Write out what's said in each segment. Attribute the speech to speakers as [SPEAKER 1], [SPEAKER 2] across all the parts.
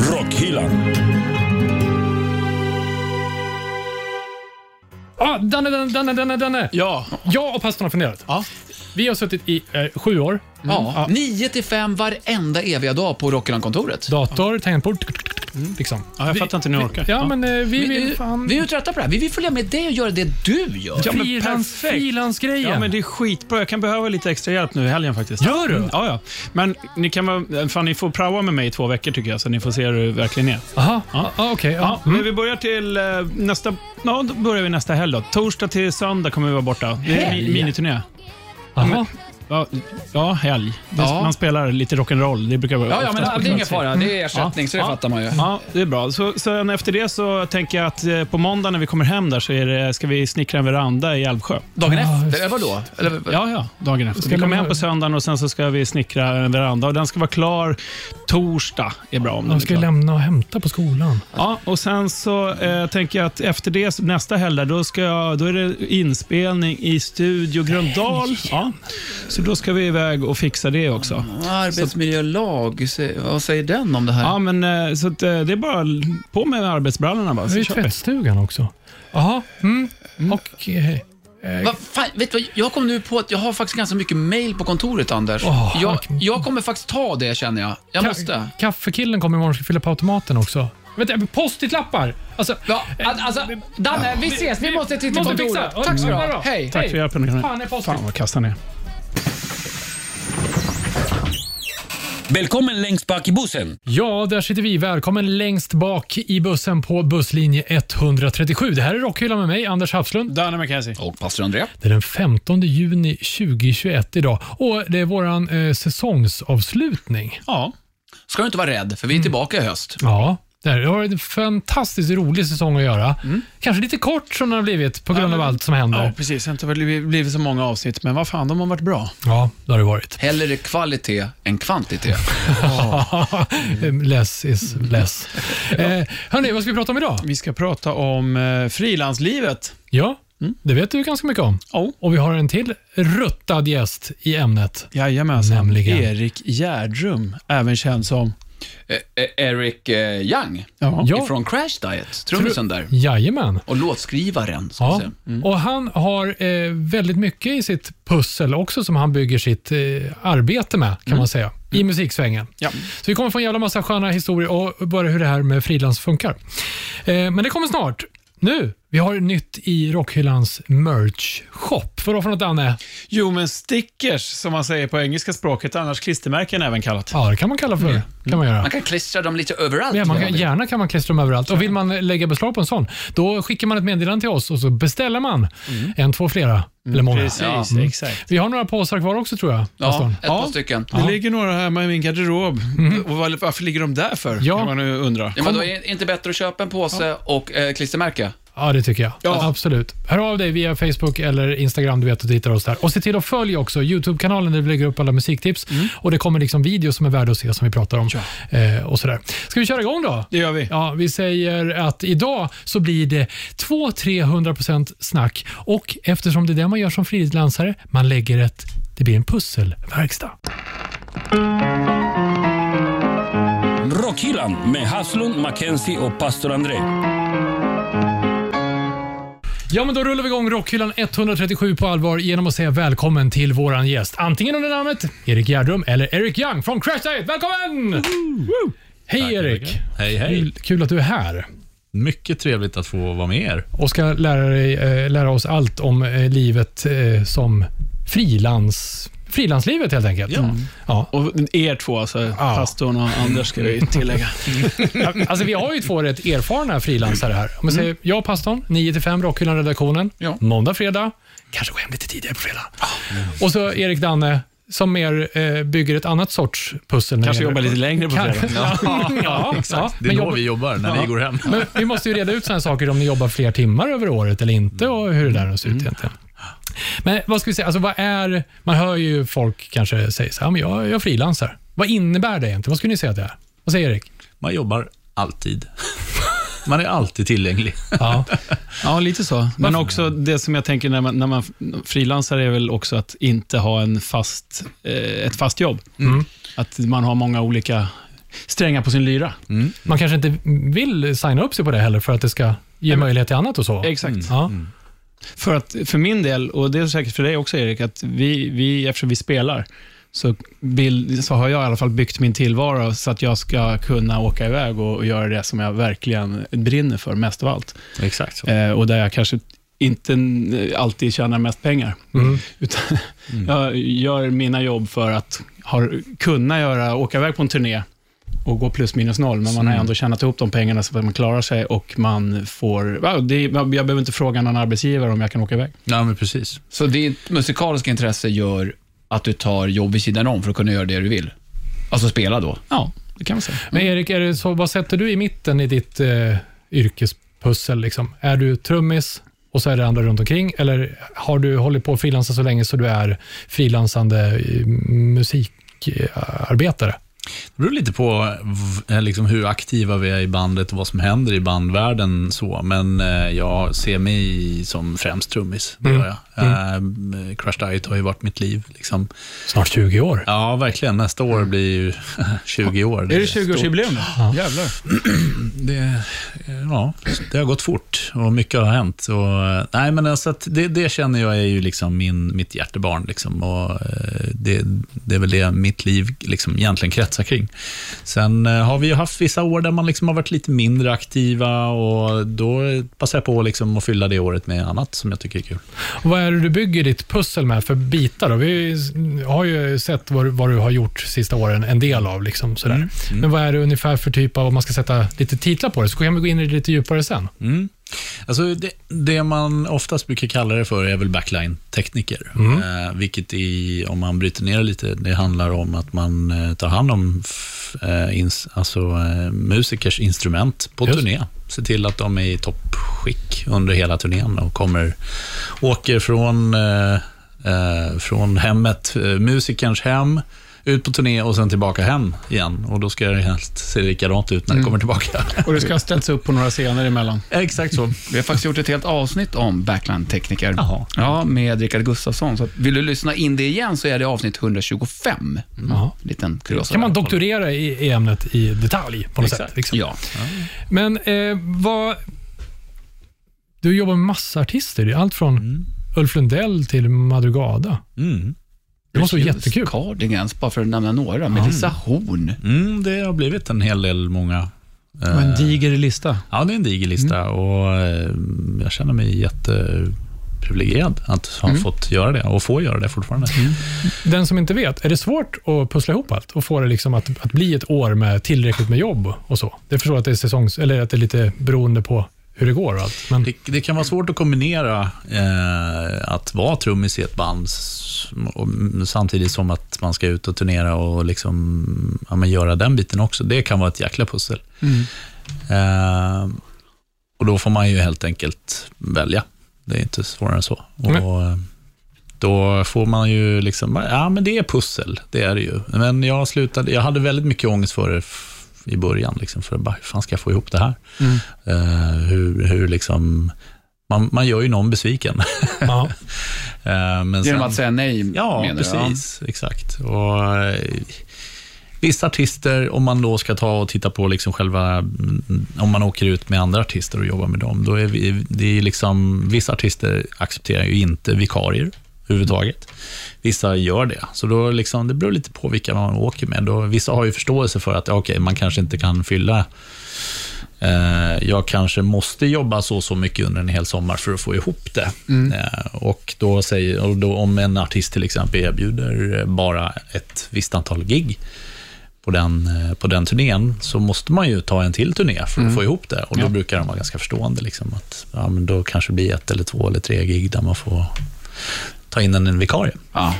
[SPEAKER 1] bokhyllan.
[SPEAKER 2] Ah, Danne, Danne, Danne, Danne, Danne.
[SPEAKER 3] Ja.
[SPEAKER 2] Jag och pastorn har funderat.
[SPEAKER 3] Ja.
[SPEAKER 2] Vi har suttit i eh, sju år.
[SPEAKER 3] Mm. ja. 9 till 5 varenda eviga dag på Rockyland-kontoret.
[SPEAKER 2] Dator, tangentbord, liksom.
[SPEAKER 4] Ja, jag fattar inte hur ni orkar.
[SPEAKER 2] Ja, men eh, vi
[SPEAKER 3] Vi,
[SPEAKER 2] vill fan...
[SPEAKER 3] vi är ju trötta på det här. Vi vill följa med dig och göra det du gör.
[SPEAKER 4] Ja, men
[SPEAKER 2] Frilans,
[SPEAKER 4] perfekt.
[SPEAKER 2] frilansgrejen.
[SPEAKER 4] Ja, men det är skitbra. Jag kan behöva lite extra hjälp nu i helgen faktiskt.
[SPEAKER 2] Gör du?
[SPEAKER 4] Mm, ja, ja. Men ni, kan, vara- fan, ni får praoa med mig i två veckor tycker jag, så ni får se hur det verkligen är.
[SPEAKER 2] Aha, ja. ah, okej. ja.
[SPEAKER 4] Ja,
[SPEAKER 3] mm.
[SPEAKER 4] men vi börjar till eh, nästa... Ja, då börjar vi nästa helg då. Torsdag till söndag kommer vi vara borta. Det är en mi-
[SPEAKER 3] Helg?
[SPEAKER 4] miniturné.
[SPEAKER 2] Aha.
[SPEAKER 4] Ja, ja helg. Det-
[SPEAKER 3] Ja.
[SPEAKER 4] Man spelar lite rock'n'roll. Det brukar vara
[SPEAKER 3] Ja, ja,
[SPEAKER 4] oftast
[SPEAKER 3] men
[SPEAKER 4] på
[SPEAKER 3] det är ingen
[SPEAKER 4] plats.
[SPEAKER 3] fara. Det är ersättning, så det
[SPEAKER 4] Ja.
[SPEAKER 3] fattar man ju.
[SPEAKER 4] Ja, det är bra. Så, sen efter det så tänker jag att eh, på måndag när vi kommer hem där så är det, ska vi snickra en veranda i Älvsjö.
[SPEAKER 3] Dagen
[SPEAKER 2] Ja,
[SPEAKER 3] efter, eller vadå? Eller,
[SPEAKER 4] Ja, ja, dagen efter.
[SPEAKER 2] Ska
[SPEAKER 4] Vi kommer
[SPEAKER 2] man-
[SPEAKER 4] hem på söndagen och sen så ska vi snickra en veranda och den ska vara klar torsdag. är bra om den
[SPEAKER 2] De
[SPEAKER 4] är
[SPEAKER 2] ska ju
[SPEAKER 4] klar.
[SPEAKER 2] lämna och hämta på skolan.
[SPEAKER 4] Ja, och sen så eh, tänker jag att efter det, så- nästa helg, där, då, ska jag, då är det inspelning i Studio Gröndal. Ja. Så då ska vi iväg och fixa det också.
[SPEAKER 3] Arbetsmiljölag, se- vad säger den om det här?
[SPEAKER 4] Ja, men eh, så att, eh, det är bara l- på med arbetsbrallorna bara.
[SPEAKER 2] Det är
[SPEAKER 4] Så
[SPEAKER 2] ju
[SPEAKER 4] kör vi.
[SPEAKER 2] tvättstugan också. Jaha, mm. okej.
[SPEAKER 3] Va fan, vet du vad, jag kom nu på att jag har faktiskt ganska mycket mail på kontoret, Anders.
[SPEAKER 2] Åh,
[SPEAKER 3] jag,
[SPEAKER 2] tack.
[SPEAKER 3] jag kommer faktiskt ta det, känner jag. Jag måste.
[SPEAKER 2] Kaffekillen kommer imorgon och ska fylla på automaten också. Vänta, postitlappar! Alltså,
[SPEAKER 3] Ja, al- alltså, Danne, vi ses. Vi måste till till
[SPEAKER 2] måste
[SPEAKER 3] kontoret.
[SPEAKER 2] fixa.
[SPEAKER 3] Tack så
[SPEAKER 2] Mm.
[SPEAKER 3] du
[SPEAKER 2] Ja.
[SPEAKER 3] ha. Hej.
[SPEAKER 4] Tack för hjälpen. Karin.
[SPEAKER 2] fan är posten?
[SPEAKER 4] Fan vad kastar ni är.
[SPEAKER 1] Välkommen längst bak i bussen.
[SPEAKER 2] Ja, där sitter vi. Välkommen längst bak i bussen på busslinje 137. Det här är Rockhyllan med mig, Anders Hafslund.
[SPEAKER 4] Danne McKenzie.
[SPEAKER 3] Och pastor André.
[SPEAKER 2] Det är den 15 juni 2021 idag och det är våran eh, säsongsavslutning.
[SPEAKER 4] Ja.
[SPEAKER 3] Ska du inte vara rädd, för vi är tillbaka i höst.
[SPEAKER 2] Ja. Det här har varit en fantastiskt rolig säsong att göra. Kanske lite kort som den har blivit på grund
[SPEAKER 4] Mm. Ja, men-
[SPEAKER 2] av allt som händer.
[SPEAKER 4] Ja,
[SPEAKER 2] Ja,
[SPEAKER 4] precis. Det har inte blivit blivit så många avsnitt, men vad fan, de har varit bra.
[SPEAKER 2] det har det varit.
[SPEAKER 3] Hellre kvalitet än kvantitet.
[SPEAKER 2] Mm. less is less. Eh, hörni, vad ska vi prata om idag?
[SPEAKER 4] Vi ska prata om eh, frilanslivet.
[SPEAKER 2] Ja,
[SPEAKER 4] Mm.
[SPEAKER 2] det vet du ganska mycket om.
[SPEAKER 4] Oh.
[SPEAKER 2] Och vi har en till ruttad gäst i ämnet.
[SPEAKER 4] Jajamensan.
[SPEAKER 2] Nämligen.
[SPEAKER 4] alltså. Erik Gärdrum, även känd som...
[SPEAKER 3] Eh, eh, Eric eh, Young
[SPEAKER 2] Ja.
[SPEAKER 3] ifrån Crash Diet, trummisen där.
[SPEAKER 2] Jajamän.
[SPEAKER 3] Och låtskrivaren, så att
[SPEAKER 2] Ja.
[SPEAKER 3] säga.
[SPEAKER 2] Och han har eh, väldigt mycket i sitt pussel också som han bygger sitt eh, arbete med, kan man säga, i musiksvängen.
[SPEAKER 4] Ja.
[SPEAKER 2] Så vi kommer få en jävla massa sköna historier och bara hur det här med frilans funkar. Eh, men det kommer snart. Nu, vi har nytt i Rockhyllans merch-shop. Vadå för något, Danne?
[SPEAKER 4] Jo, men stickers, som man säger på engelska språket, annars klistermärken även kallat.
[SPEAKER 2] Ja, det kan man kalla för. Kan man göra.
[SPEAKER 3] Man kan klistra dem lite överallt.
[SPEAKER 2] Ja, man kan,
[SPEAKER 3] Ja.
[SPEAKER 2] gärna kan man klistra dem överallt. Och vill man eh, lägga beslag på en sån, då skickar man ett meddelande till oss och så beställer man en, två, flera eller många.
[SPEAKER 4] Precis,
[SPEAKER 3] Ja.
[SPEAKER 4] exakt.
[SPEAKER 2] Vi har några påsar kvar också tror jag.
[SPEAKER 3] Ja,
[SPEAKER 2] Ja.
[SPEAKER 3] ett
[SPEAKER 4] Ja.
[SPEAKER 3] par stycken.
[SPEAKER 4] Det ligger några hemma i min garderob. Och var- varför ligger de där för?
[SPEAKER 2] Ja.
[SPEAKER 4] Kan man ju undra.
[SPEAKER 3] Ja, men då är det inte bättre att köpa en påse och eh, klistermärke?
[SPEAKER 2] ja, det tycker jag.
[SPEAKER 4] Ja.
[SPEAKER 2] Absolut. Hör av dig via Facebook eller Instagram, du vet att du hittar oss där. Och se till att följa också YouTube-kanalen där vi lägger upp alla musiktips. Och det kommer liksom videos som är värda att se som vi pratar om. Eh, och sådär. Ska vi köra igång då?
[SPEAKER 4] Det gör vi.
[SPEAKER 2] Ja, vi säger att idag så blir det 200-300% snack och eftersom det är det man gör som frilansare, man lägger ett, det blir en pusselverkstad.
[SPEAKER 1] Rockhyllan med Haslund, Mackenzie och pastor André.
[SPEAKER 2] Ja, men då rullar vi igång Rockhyllan 137 på allvar genom att säga välkommen till våran gäst. Antingen under namnet Erik Gärdrum eller Erik Young från Crash Diet. Välkommen! Woo! Hej Erik!
[SPEAKER 5] Hej, hej.
[SPEAKER 2] Kul, kul att du är här
[SPEAKER 5] Mycket trevligt att få vara med er.
[SPEAKER 2] och ska lära, dig, eh, lära oss allt om eh, livet eh, som frilans, frilanslivet helt enkelt. Ja. Ja.
[SPEAKER 4] Och er två, alltså, pastorn och Anders, ska vi tillägga.
[SPEAKER 2] Alltså, vi har ju två rätt erfarna frilansare här. Om man säger, jag pastorn, 9 till 5, Rockhyllan-redaktionen.
[SPEAKER 3] Ja.
[SPEAKER 2] Måndag, fredag. Kanske gå hem lite tidigare på fredag. Och så Erik Danne, som mer eh, bygger ett annat sorts pussel. när det
[SPEAKER 4] Kanske
[SPEAKER 2] gäller-
[SPEAKER 4] jobbar lite längre på fredag.
[SPEAKER 2] Ja, ja, exakt.
[SPEAKER 5] Det är
[SPEAKER 2] men,
[SPEAKER 5] då
[SPEAKER 2] jobbar-
[SPEAKER 5] vi jobbar, när ni går hem.
[SPEAKER 2] men vi måste ju reda ut sådana saker, om ni jobbar fler timmar över året eller inte och hur det där ser ut egentligen. Men vad ska vi säga, alltså vad är... Man hör ju folk kanske säga så här, "Ja, men jag, jag frilansar. Vad innebär det egentligen? Vad skulle ni säga att det är? Vad säger Erik?
[SPEAKER 5] Man jobbar alltid. Man är alltid tillgänglig.
[SPEAKER 2] Ja.
[SPEAKER 4] Ja, lite så. Men också det som jag tänker när man, när man frilansar är väl också att inte ha en fast, eh, ett fast jobb. Att man har många olika strängar på sin lyra.
[SPEAKER 2] Man kanske inte vill signa upp sig på det heller för att det ska ge möjlighet till annat och så.
[SPEAKER 4] Exakt.
[SPEAKER 2] Ja.
[SPEAKER 4] För, att, för min del, och det är säkert för dig också Erik, att vi, vi, eftersom vi spelar, så, bild, så har jag i alla fall byggt min tillvaro så att jag ska kunna åka iväg och, och göra det som jag verkligen brinner för mest av allt.
[SPEAKER 5] Exakt så.
[SPEAKER 4] Eh, och där jag kanske inte eh, alltid tjänar mest pengar.
[SPEAKER 2] Mm.
[SPEAKER 4] Utan jag gör mina jobb för att ha, kunna göra, åka iväg på en turné och gå plus minus noll, men man har ändå tjänat ihop de pengarna så att man klarar sig och man får... ja, Det, jag behöver inte fråga någon arbetsgivare om jag kan åka iväg.
[SPEAKER 5] Ja, men precis.
[SPEAKER 3] Så ditt musikaliska intresse gör att du tar jobb vid sidan om för att kunna göra det du vill? Alltså spela då?
[SPEAKER 4] Ja, det kan man säga.
[SPEAKER 2] Men Erik, är det så, vad sätter du i mitten i ditt eh, yrkespussel? Liksom? Är du trummis och så är det andra runt omkring? Eller har du hållit på att frilansa så länge så du är frilansande eh, musikarbetare?
[SPEAKER 5] Det beror lite på v- eh, liksom, hur aktiva vi är i bandet och vad som händer i bandvärlden. Så. Men eh, jag ser mig som främst trummis. Det gör jag. Eh, Crash Diet har ju varit mitt liv. Liksom.
[SPEAKER 2] Snart 20 år.
[SPEAKER 5] Ja, verkligen. Nästa år blir ju 20 år.
[SPEAKER 4] Är det 20-årsjubileum nu? Jävlar.
[SPEAKER 5] det, ja, det har gått fort och mycket har hänt. Och, nej, men alltså att det, det känner jag är ju liksom min, mitt hjärtebarn. Liksom, och, eh, det, det är väl det mitt liv liksom egentligen kretsar kring. Sen eh, har vi ju haft vissa år där man liksom har varit lite mindre aktiva och då passar jag på liksom att fylla det året med annat som jag tycker är kul.
[SPEAKER 2] Och vad är det du bygger ditt pussel med för bitar? Då? Vi har ju sett vad, du- vad du har gjort sista åren, en del av. Liksom, sådär.
[SPEAKER 4] Mm.
[SPEAKER 2] Men vad är det ungefär för typ av, om man ska sätta lite titlar på det, så kan vi gå in i det lite djupare sen.
[SPEAKER 5] Mm. Alltså det, det man oftast brukar kalla det för är väl backline-tekniker. Eh, vilket i, om man bryter ner det lite, det handlar om att man eh, tar hand om f, eh, ins, alltså, eh, musikers instrument på
[SPEAKER 2] Just.
[SPEAKER 5] turné. Se till att de är i toppskick under hela turnén och kommer, åker från, eh, eh, från hemmet, eh, musikerns hem, ut på turné och sen tillbaka hem igen. Och då ska det helst se likadant ut när
[SPEAKER 2] Mm.
[SPEAKER 3] Mm.
[SPEAKER 5] det kommer tillbaka.
[SPEAKER 4] Och det ska ha ställts upp på några scener emellan.
[SPEAKER 5] Exakt så.
[SPEAKER 3] Vi har faktiskt gjort ett helt avsnitt om Backland-tekniker.
[SPEAKER 5] Jaha.
[SPEAKER 3] Ja, med Rickard Gustafsson. Så att vill du lyssna in det igen så är det avsnitt 125.
[SPEAKER 2] Jaha.
[SPEAKER 3] Liten kuriosa.
[SPEAKER 2] Mm. kan man
[SPEAKER 3] där.
[SPEAKER 2] doktorera i, i ämnet i detalj på något
[SPEAKER 5] Exakt.
[SPEAKER 2] sätt. Liksom.
[SPEAKER 3] Ja.
[SPEAKER 2] Men eh, vad... Du jobbar med massa artister. Det är allt från
[SPEAKER 4] Mm.
[SPEAKER 2] Ulf Lundell till Madrugada.
[SPEAKER 5] Mm.
[SPEAKER 2] Det måste vara
[SPEAKER 3] Hughes,
[SPEAKER 2] jättekul.
[SPEAKER 3] Cardigans, bara för att nämna några. Melissa Horn.
[SPEAKER 5] Mm, det har blivit en hel del många.
[SPEAKER 4] Det var en diger lista.
[SPEAKER 5] Ja, det är en diger lista och eh, jag känner mig jätteprivilegierad att ha fått göra det och få göra det fortfarande.
[SPEAKER 2] Den som inte vet, är det svårt att pussla ihop allt och få det liksom att, att bli ett år med tillräckligt med jobb och så? Det förstår jag att det är säsongs... Eller att det är lite beroende på hur det går och allt. Men,
[SPEAKER 5] Det, det kan vara svårt att kombinera eh, att vara trummis i ett band s- och, samtidigt som att man ska ut och turnera och liksom, ja, men göra den biten också. Det kan vara ett jäkla pussel. Eh, och då får man ju helt enkelt välja. Det är inte svårare än så.
[SPEAKER 2] Nej.
[SPEAKER 5] Och, eh, då får man ju liksom, ja men det är pussel, det är det ju. Men jag slutade, jag hade väldigt mycket ångest för det f- i början, liksom, för bara, hur fan ska jag få ihop det här? Eh, hur, hur liksom, man, man gör ju någon besviken.
[SPEAKER 2] ja.
[SPEAKER 5] Eh, men
[SPEAKER 3] Genom
[SPEAKER 5] sen-
[SPEAKER 3] att säga nej,
[SPEAKER 5] Ja,
[SPEAKER 3] menar du?
[SPEAKER 5] precis. Exakt. Och, eh, vissa artister, om man då ska ta och titta på liksom själva, mm, om man åker ut med andra artister och jobbar med dem, då är vi, det är liksom, vissa artister accepterar ju inte vikarier överhuvudtaget. Vissa gör det, så då liksom, det beror lite på vilka man åker med. Då, vissa har ju förståelse för att ja, okej, man kanske inte kan fylla Eh, jag kanske måste jobba så och så mycket under en hel sommar för att få ihop det. Eh, och då säger, och då om en artist till exempel erbjuder eh, bara ett visst antal gig på den, eh, på den turnén, så måste man ju ta en till turné för att få ihop det. Och då brukar de vara ganska förstående. Liksom, att, ja, men då kanske det blir ett eller två eller tre gig där man får ta in en vikarie.
[SPEAKER 3] Ja.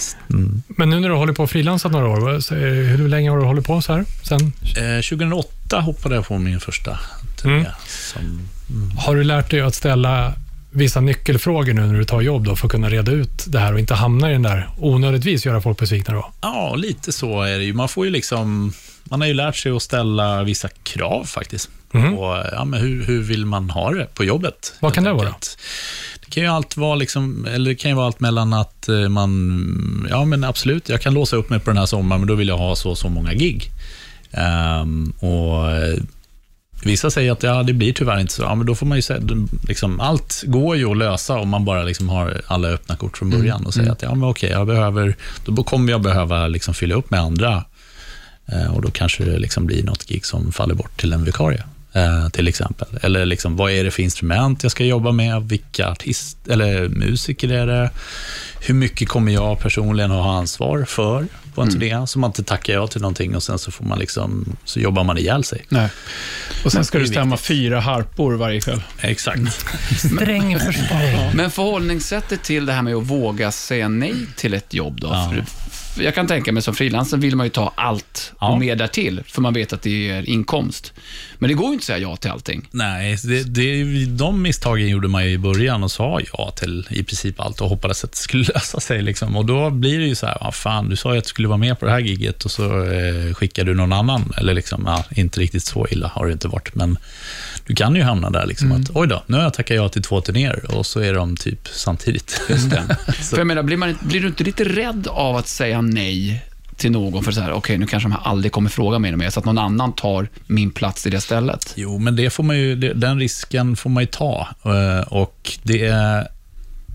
[SPEAKER 2] Men nu när du håller på och frilansat några år, vad säger- hur länge har du hållit på så här? Sen,
[SPEAKER 5] Eh, 2008 hoppade jag på min första turné.
[SPEAKER 2] Mm.
[SPEAKER 5] Som,
[SPEAKER 2] har du lärt dig att ställa vissa nyckelfrågor nu när du tar jobb då för att kunna reda ut det här och inte hamna i den där onödigtvis göra folk besvikna då?
[SPEAKER 5] Ja, lite så är det ju. Man får ju liksom... Man har ju lärt sig att ställa vissa krav faktiskt. På, ja, men hur, hur vill man ha det på jobbet?
[SPEAKER 2] Vad kan det
[SPEAKER 5] helt
[SPEAKER 2] vara?
[SPEAKER 5] enkelt. Det kan ju allt vara liksom, eller det kan ju vara allt mellan att eh, man, ja men absolut, jag kan låsa upp mig på den här sommaren, men då vill jag ha så och så många gig. Ehm, och eh, Vissa säger att ja, det blir tyvärr inte så. Ja, men då får man ju säga, liksom, allt går ju att lösa om man bara liksom har alla öppna kort
[SPEAKER 2] Mm,
[SPEAKER 5] från början och säger att ja, men okej, jag behöver, då kommer jag behöva liksom fylla upp med andra Eh, Och då kanske det liksom blir något gig som faller bort till en vikarie, eh, till exempel. Eller liksom, vad är det för instrument jag ska jobba med? Vilka artist eller musiker är det? Hur mycket kommer jag personligen att ha ansvar för på en turné? Så man inte tackar ja till någonting och sen så, får man liksom, så jobbar man ihjäl sig.
[SPEAKER 4] Nej. Och sen ska
[SPEAKER 5] det
[SPEAKER 4] du
[SPEAKER 5] är
[SPEAKER 4] stämma fyra harpor varje kväll.
[SPEAKER 5] Exakt.
[SPEAKER 2] Sträng försvar.
[SPEAKER 3] Men förhållningssättet till det här med att våga säga nej till ett jobb då?
[SPEAKER 5] Ja.
[SPEAKER 3] För- för Jag kan tänka mig som frilansare vill man ju ta allt
[SPEAKER 5] Ja.
[SPEAKER 3] och mer därtill, för man vet att det ger inkomst. Men det går ju inte att säga ja till allting.
[SPEAKER 5] Nej, det, det, de misstagen gjorde man ju i början och sa ja till i princip allt och hoppades att det skulle lösa sig. Liksom. Och då blir det ju så här, ah, fan, du sa ju att du skulle vara med på det här giget och så eh, skickar du någon annan. Eller liksom, ja, inte riktigt så illa har det inte varit, men du kan ju hamna där liksom att, oj då, nu har jag tackat ja till två turnéer och så är de typ samtidigt. Just det.
[SPEAKER 3] För jag menar, blir, man, blir du inte lite rädd av att säga nej till någon för så här, okej, nu kanske de här aldrig kommer fråga mig mer, så att någon annan tar min plats i det stället?
[SPEAKER 5] Jo, men det får man ju, det- den risken får man ju ta. Eh, Och det är,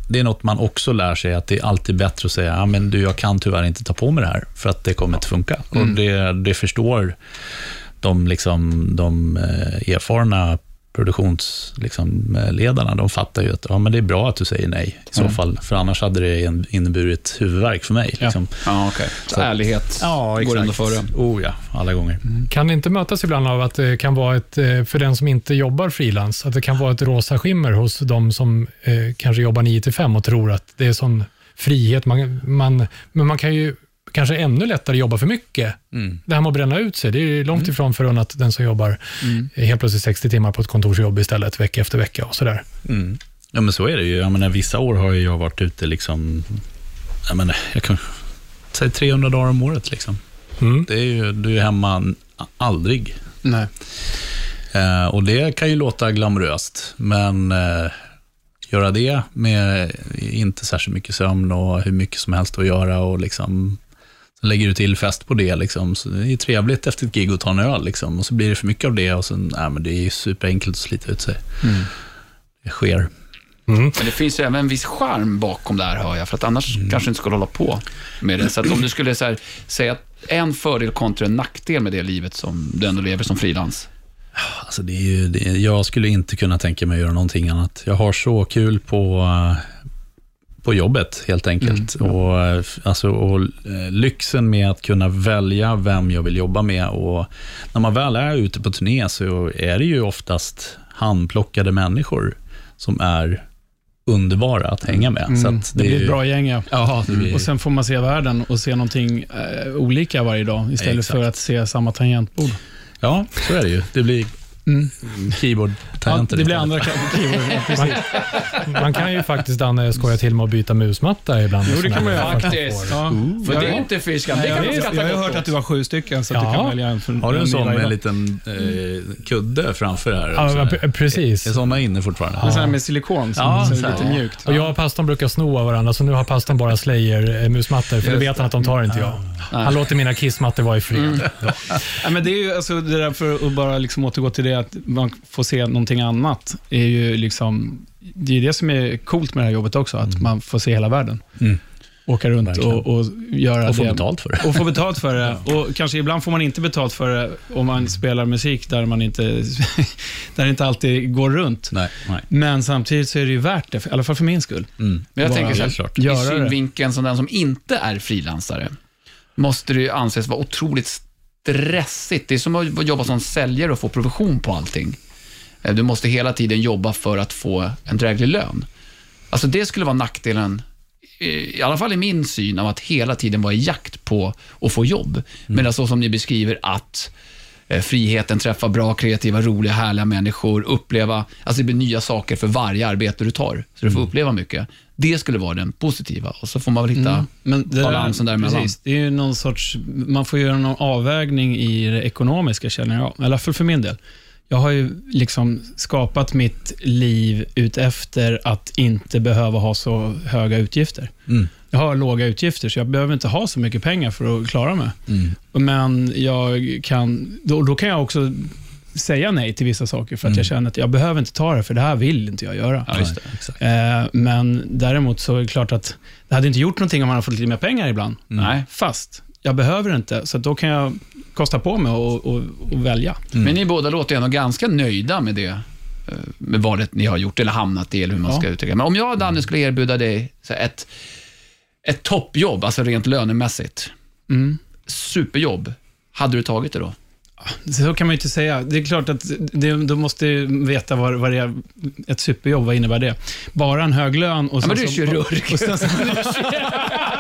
[SPEAKER 5] det är något man också lär sig, att det är alltid bättre att säga, ja men du, jag kan tyvärr inte ta på mig det här, för att det kommer inte funka. Och det, det förstår de, liksom, de eh, erfarna produktionsledarna, liksom, eh, ledarna. de fattar ju att ja, men det är bra att du säger nej i så fall, för annars hade det en- inneburit huvudvärk för mig. Liksom.
[SPEAKER 3] Ja, okej. Så ärlighet går ändå före.
[SPEAKER 5] Oh ja, alla gånger.
[SPEAKER 2] Kan det inte mötas ibland av att det kan vara ett, eh, för den som inte jobbar frilans, att det kan vara ett rosa skimmer hos de som eh, kanske jobbar 9 till 5 och tror att det är sån frihet. Man, man, men man kan ju kanske ännu lättare jobba för mycket.
[SPEAKER 4] Mm.
[SPEAKER 2] Det här med att bränna ut sig, det är ju långt ifrån förunnat den som jobbar
[SPEAKER 4] Mm.
[SPEAKER 2] eh, helt plötsligt 60 timmar på ett kontorsjobb istället, vecka efter vecka och sådär.
[SPEAKER 5] Ja, men så är det ju. Jag menar, vissa år har ju jag varit ute liksom, jag menar, jag kan, säg 300 dagar om året liksom.
[SPEAKER 2] Mm.
[SPEAKER 5] Det är ju, du är hemma n- aldrig.
[SPEAKER 4] Nej.
[SPEAKER 5] Eh, och det kan ju låta glamoröst, men eh, göra det med inte särskilt mycket sömn och hur mycket som helst att göra och liksom, så lägger du till fest på det liksom. Så det är ju trevligt efter ett gig att ta en öl liksom. Och så blir det för mycket av det och sen, nej men det är ju superenkelt att slita ut sig. Det sker.
[SPEAKER 3] Men det finns ju även en viss charm bakom det här, hör jag, för att annars
[SPEAKER 4] Mm.
[SPEAKER 3] kanske du inte skulle hålla på med det. Så att om du skulle så här, säga att en fördel kontra en nackdel med det livet som du ändå lever som frilans.
[SPEAKER 5] Alltså det är ju, det, är- jag skulle inte kunna tänka mig att göra någonting annat. Jag har så kul på, eh, på jobbet helt enkelt.
[SPEAKER 4] Mm,
[SPEAKER 5] och, eh, f- alltså, och eh, lyxen med att kunna välja vem jag vill jobba med. Och när man väl är ute på turné så är det ju oftast handplockade människor som är underbara att hänga med. Så att
[SPEAKER 4] Mm. Det
[SPEAKER 5] är
[SPEAKER 4] blir ett
[SPEAKER 5] ju-
[SPEAKER 4] bra gäng, ja.
[SPEAKER 5] Ja, det blir,
[SPEAKER 4] Och sen får man se världen och se någonting eh, olika varje dag istället
[SPEAKER 5] Exakt.
[SPEAKER 4] för att se samma tangentbord.
[SPEAKER 5] ja, så är det ju. Det blir keyboard
[SPEAKER 4] Mm. Ja, det blir
[SPEAKER 5] istället.
[SPEAKER 4] andra kategorier.
[SPEAKER 2] Man, man kan ju faktiskt, Danne, skoja till med att byta musmatta ibland.
[SPEAKER 4] Jo, det kan man göra.
[SPEAKER 3] Faktiskt.
[SPEAKER 4] Ja.
[SPEAKER 3] För det
[SPEAKER 4] Ja.
[SPEAKER 3] är inte fy skam. Det
[SPEAKER 4] Nej,
[SPEAKER 3] kan man
[SPEAKER 4] jag,
[SPEAKER 3] skratta
[SPEAKER 4] jag har
[SPEAKER 3] gott
[SPEAKER 4] hört
[SPEAKER 3] åt.
[SPEAKER 4] att du har sju stycken, så att
[SPEAKER 2] Ja.
[SPEAKER 4] du kan välja en. För,
[SPEAKER 5] Har du en sån med en
[SPEAKER 4] lite...
[SPEAKER 5] liten eh, kudde framför här?
[SPEAKER 2] Ja, men pre- precis.
[SPEAKER 5] Är sådana inne fortfarande?
[SPEAKER 4] En sån här med silikon, som
[SPEAKER 5] Ja,
[SPEAKER 4] så är
[SPEAKER 5] så
[SPEAKER 4] det
[SPEAKER 5] här.
[SPEAKER 4] lite mjukt.
[SPEAKER 2] Och jag och pastorn brukar sno av varandra, så nu har pastorn bara Slayer-musmattor, för det vet han att de tar inte jag. Han låter mina kissmattor vara i fred.
[SPEAKER 4] Mm. Ja, men det är ju alltså det där för att bara liksom återgå till det att man får se någonting annat. Är ju liksom, det är ju det som är coolt med det här jobbet också, att man får se hela världen.
[SPEAKER 5] Mm.
[SPEAKER 4] Åka runt
[SPEAKER 5] Verkligen.
[SPEAKER 4] och, och göra
[SPEAKER 5] Och få
[SPEAKER 4] det.
[SPEAKER 5] betalt för det.
[SPEAKER 4] Och få betalt för det. Och kanske ibland får man inte betalt för det om man spelar musik där, man inte, där det inte alltid går runt.
[SPEAKER 5] Nej. Nej.
[SPEAKER 4] Men samtidigt så är det ju värt det, för- i alla fall för min skull.
[SPEAKER 5] Mm.
[SPEAKER 3] Men jag
[SPEAKER 4] Bara
[SPEAKER 3] tänker så
[SPEAKER 5] helt klart.
[SPEAKER 3] här, i
[SPEAKER 4] Göra det.
[SPEAKER 3] synvinkeln som den som inte är frilansare, måste det ju anses vara otroligt stressigt. Det är som att jobba som säljare och få provision på allting. Eh, Du måste hela tiden jobba för att få en dräglig lön. Alltså det skulle vara nackdelen, eh, i alla fall i min syn, av att hela tiden vara i jakt på att få jobb. Medan så som ni beskriver att eh, friheten, träffa bra, kreativa, roliga, härliga människor, uppleva, alltså det blir nya saker för varje arbete du tar, så du får uppleva mycket. Det skulle vara den positiva och så får man väl hitta
[SPEAKER 4] Men det
[SPEAKER 3] Balansen däremellan.
[SPEAKER 4] Precis, det är ju någon sorts, man får göra någon avvägning i det ekonomiska känner jag, i alla fall för min del. Jag har ju liksom skapat mitt liv utefter att inte behöva ha så höga utgifter.
[SPEAKER 5] Mm.
[SPEAKER 4] jag har låga utgifter, så jag behöver inte ha så mycket pengar för att klara mig.
[SPEAKER 5] Mm.
[SPEAKER 4] Men jag kan, då, då kan jag också säga nej till vissa saker, för att jag känner att jag behöver inte ta det, för det här vill inte jag göra.
[SPEAKER 5] Mm. Ja, just det. Exakt.
[SPEAKER 4] Eh, Men däremot så är det klart att det hade inte gjort någonting om man hade fått lite mer pengar ibland.
[SPEAKER 3] Nej.
[SPEAKER 4] Fast jag behöver det inte, så att då kan jag kosta på mig och, och, och välja.
[SPEAKER 3] Men ni båda låter ändå ganska nöjda med det eh, med valet ni har gjort eller hamnat i, eller hur man
[SPEAKER 4] Ja.
[SPEAKER 3] ska uttrycka det. Men om jag, Danne, skulle erbjuda dig så här, ett, ett toppjobb, alltså rent lönemässigt,
[SPEAKER 4] Mm.
[SPEAKER 3] superjobb, hade du tagit det då?
[SPEAKER 4] Så kan man ju inte säga. Det är klart att det, du måste ju veta vad, vad det är, ett superjobb, vad innebär det? Bara en hög lön och
[SPEAKER 3] Ja, men
[SPEAKER 4] sen
[SPEAKER 3] du är
[SPEAKER 4] så-
[SPEAKER 3] kirurg.
[SPEAKER 4] Och sen så, Ja,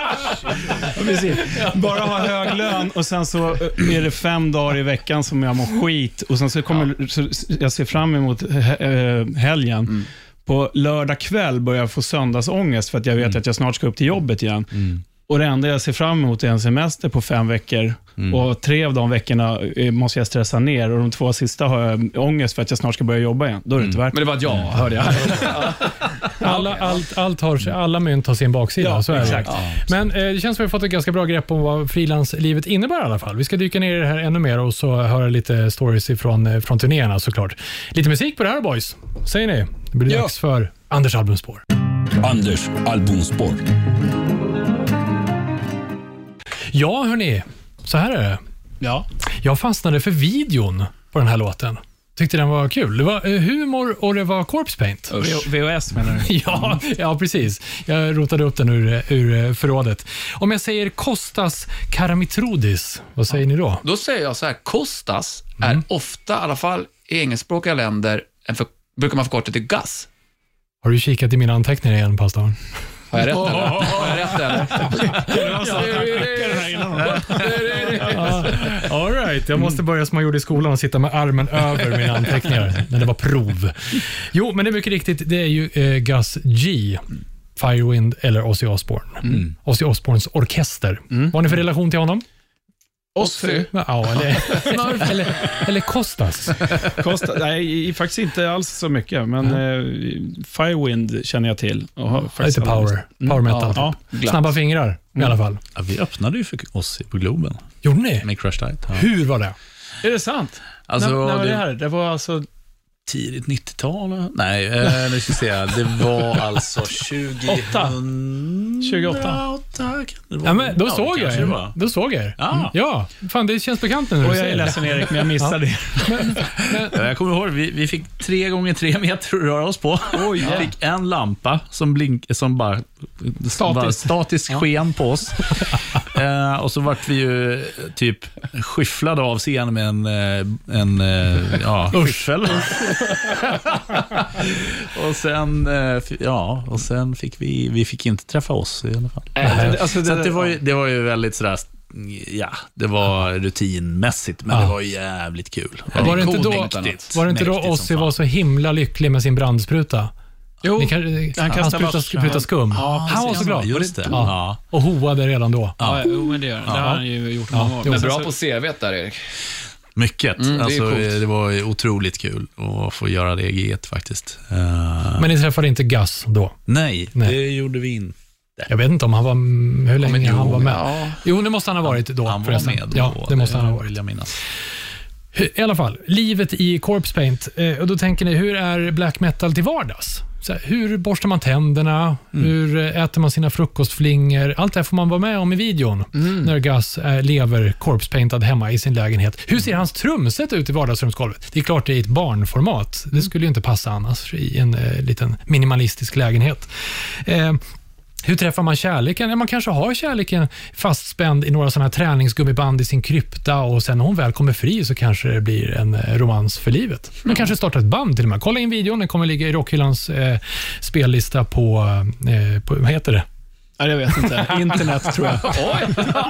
[SPEAKER 4] precis. Bara ha hög lön och sen så är det fem dagar i veckan som jag mår skit och sen så kommer så jag ser fram emot he- eh, helgen.
[SPEAKER 3] Mm.
[SPEAKER 4] På lördag kväll börjar jag få söndagsångest för att jag vet
[SPEAKER 2] Mm.
[SPEAKER 4] att jag snart ska upp till jobbet igen. Och Det enda jag ser fram emot är en semester på fem veckor.
[SPEAKER 2] Mm.
[SPEAKER 4] Och Tre av de veckorna eh, måste jag stressa ner och de två sista har jag ångest för att jag snart ska börja jobba igen. Då är det
[SPEAKER 2] Mm.
[SPEAKER 4] inte värt
[SPEAKER 3] Men det var ett ja, hörde jag.
[SPEAKER 2] Alla, allt, allt har, alla mynt har sin baksida.
[SPEAKER 4] Ja,
[SPEAKER 2] så är
[SPEAKER 4] exakt.
[SPEAKER 2] Det. Men eh, det känns som vi har fått ett ganska bra grepp om vad frilanslivet innebär i alla fall. Vi ska dyka ner i det här ännu mer och så höra lite stories ifrån, eh, från turnéerna såklart. Lite musik på det här boys. Säger ni? Det blir dags för Anders albumspår.
[SPEAKER 1] Anders albumspår.
[SPEAKER 2] Ja, hörni. Så här är det.
[SPEAKER 4] Ja.
[SPEAKER 2] Jag fastnade för videon på den här låten. Tyckte den var kul. Det var eh, humor och det var corpse paint.
[SPEAKER 4] VHS menar du?
[SPEAKER 2] Ja, ja, precis. Jag rotade upp den ur, eh, ur förrådet. Om jag säger Kostas Karamitroudis, vad säger ni då?
[SPEAKER 3] Då säger jag så här, Kostas är ofta, i alla fall i engelskspråkiga länder, en för, brukar man förkorta till GAS.
[SPEAKER 2] Har du kikat i mina anteckningar igen, pastorn?
[SPEAKER 3] Har jag rätt eller? Har jag rätt eller?
[SPEAKER 2] All right, jag måste börja som jag gjorde i skolan och sitta med armen över mina anteckningar när det var prov. Jo, men det är mycket riktigt, det är ju eh, Gus G. Firewind eller Ozzy Osbourne. Ozzy Osbournes orkester. Vad har ni för relation till honom?
[SPEAKER 3] Ossi.
[SPEAKER 2] Ja, eller, eller, eller Kostas.
[SPEAKER 4] Kosta, nej, i- faktiskt inte alls så mycket, men eh, Firewind känner jag till. Och har faktiskt
[SPEAKER 2] Lite
[SPEAKER 4] aldrig-
[SPEAKER 2] power. Power metal.
[SPEAKER 4] Mm. Ja,
[SPEAKER 2] typ. Snabba fingrar i alla fall.
[SPEAKER 5] Ja, vi öppnade ju för oss på Globen
[SPEAKER 2] Gjorde ni?
[SPEAKER 5] med Crash Diet. Ja.
[SPEAKER 2] Hur var det?
[SPEAKER 4] Är det sant?
[SPEAKER 5] Alltså,
[SPEAKER 4] när, när var det
[SPEAKER 5] det-
[SPEAKER 4] här? Det var alltså...
[SPEAKER 5] Tidigt 90-tal? Nej, eh, nu ska vi se. Det var alltså 2000...
[SPEAKER 4] 28.
[SPEAKER 5] kan det vara.
[SPEAKER 2] Ja, men då, såg
[SPEAKER 5] det
[SPEAKER 2] jag
[SPEAKER 5] kanske det
[SPEAKER 2] er.
[SPEAKER 5] var.
[SPEAKER 2] då såg jag er. Mm.
[SPEAKER 5] Ja.
[SPEAKER 2] Ja, fan det känns bekant nu när du
[SPEAKER 4] Och jag är
[SPEAKER 2] säger det.
[SPEAKER 4] ledsen Erik, men jag missade det.
[SPEAKER 5] Ja, Eh, Jag kommer ihåg, vi, vi fick tre gånger tre meter att röra oss på. vi fick en lampa som, blink, som bara som bara statiskt sken på oss. eh, och så vart vi ju typ skyfflade av scenen med en, eh, en eh, ja, skyffel. och, sen, eh, f- ja, och sen fick vi, vi fick inte träffa oss i alla fall.
[SPEAKER 4] Alltså,
[SPEAKER 5] Så att det, var ju, det var ju väldigt sådär, ja, det var rutinmässigt, men
[SPEAKER 2] Ja.
[SPEAKER 5] det var ju jävligt kul.
[SPEAKER 2] Var det inte
[SPEAKER 3] Cool,
[SPEAKER 2] då-
[SPEAKER 3] inget annat.
[SPEAKER 2] Var det inte då
[SPEAKER 5] Mäktigt som
[SPEAKER 2] Ozzy
[SPEAKER 5] fan.
[SPEAKER 2] var så himla lycklig med sin brandspruta?
[SPEAKER 4] Jo,
[SPEAKER 2] Ni kan, han
[SPEAKER 4] kastade
[SPEAKER 2] sprutade,
[SPEAKER 4] vatten.
[SPEAKER 2] sprutade skum. han var så glad.
[SPEAKER 5] Just det.
[SPEAKER 2] Ja. Och hoade redan då.
[SPEAKER 4] ja, jo, men det gör det. Det har han ju gjort många år.
[SPEAKER 2] jo,
[SPEAKER 4] Men
[SPEAKER 2] bra.
[SPEAKER 4] sen
[SPEAKER 3] Bra
[SPEAKER 4] så-
[SPEAKER 3] på CV där, Erik.
[SPEAKER 5] Mycket.
[SPEAKER 2] Mm,
[SPEAKER 3] det är
[SPEAKER 5] alltså,
[SPEAKER 3] coolt.
[SPEAKER 5] det, var ju otroligt kul att få göra det GET faktiskt. Eh,
[SPEAKER 2] Men ni träffade inte Gus då?
[SPEAKER 5] nej,
[SPEAKER 2] Nej.
[SPEAKER 5] det gjorde vi inte.
[SPEAKER 2] Jag vet inte om han var, hur länge han var med.
[SPEAKER 3] Ja.
[SPEAKER 2] Jo, det måste han ha varit då.
[SPEAKER 5] Han var
[SPEAKER 2] förresten.
[SPEAKER 5] med då. eh,
[SPEAKER 2] Ja, det måste han ha varit.
[SPEAKER 5] vill jag minnas.
[SPEAKER 2] I alla fall, livet i corpse paint. Eh, och då tänker ni, hur är black metal till vardags? Så här, hur borstar man tänderna? Hur eh, äter man sina frukostflingor? Allt det här får man vara med om i videon när Gus eh, lever corpse paintad hemma i sin lägenhet. Hur ser hans trumset ut i vardagsrumsgolvet? Det är klart det är i ett barnformat. Det skulle ju inte passa annars i en eh, liten minimalistisk lägenhet. Eh, hur träffar man kärleken? Ja, man kanske har kärleken fastspänd i några sådana här träningsgummiband i sin krypta och sen när hon väl kommer fri så kanske det blir en eh, romans för livet. Man kanske startar ett band till och med. Kolla in videon, den kommer ligga i Rockhyllans eh, spellista på, eh, på, vad heter det?
[SPEAKER 4] Nej, jag vet inte. Internet tror jag.
[SPEAKER 3] Oj,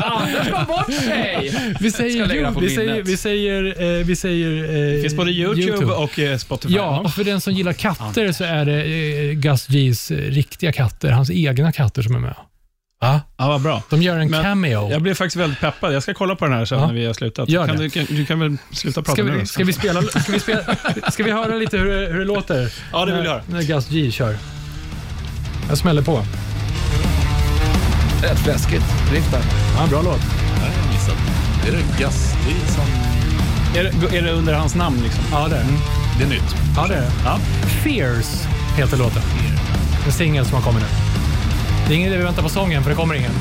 [SPEAKER 3] Anders var bort sig!
[SPEAKER 2] Vi
[SPEAKER 3] Jag lägger
[SPEAKER 2] säger,
[SPEAKER 3] den på
[SPEAKER 2] vi säger,
[SPEAKER 3] minnet.
[SPEAKER 2] vi säger, eh, vi säger eh,
[SPEAKER 4] Det finns både YouTube, och eh, Spotify.
[SPEAKER 2] Ja, och för den som gillar katter så är det eh, Gus G's eh, riktiga katter, hans egna katter som är med. Va?
[SPEAKER 4] ja vad bra.
[SPEAKER 2] De gör en
[SPEAKER 4] Men-
[SPEAKER 2] cameo.
[SPEAKER 4] Jag blev faktiskt väldigt peppad. Jag ska kolla på den här sen
[SPEAKER 2] Ja.
[SPEAKER 4] när vi har slutat.
[SPEAKER 2] Gör
[SPEAKER 4] kan
[SPEAKER 2] det.
[SPEAKER 4] du, kan, du kan väl sluta prata
[SPEAKER 2] Ska
[SPEAKER 4] nu?
[SPEAKER 2] vi,
[SPEAKER 4] då?
[SPEAKER 2] ska, vi spela, ska, vi spela, ska vi höra lite hur, det- hur det låter?
[SPEAKER 4] Ja, det vill
[SPEAKER 2] när,
[SPEAKER 4] jag höra.
[SPEAKER 2] När Gus G kör. Jag smäller på.
[SPEAKER 3] Rätt fläskigt. Driftar.
[SPEAKER 4] Ja, bra låt.
[SPEAKER 5] Nej, jag har missat. Det är det Gastri som...
[SPEAKER 4] Är det, är det under hans namn liksom? Ja, det är det.
[SPEAKER 5] Det är nytt.
[SPEAKER 4] Ja, det är det.
[SPEAKER 5] Ja.
[SPEAKER 2] Fears heter låten. En singel som har kommit nu. Det är ingen idé vi väntar på sången, för det kommer ingen.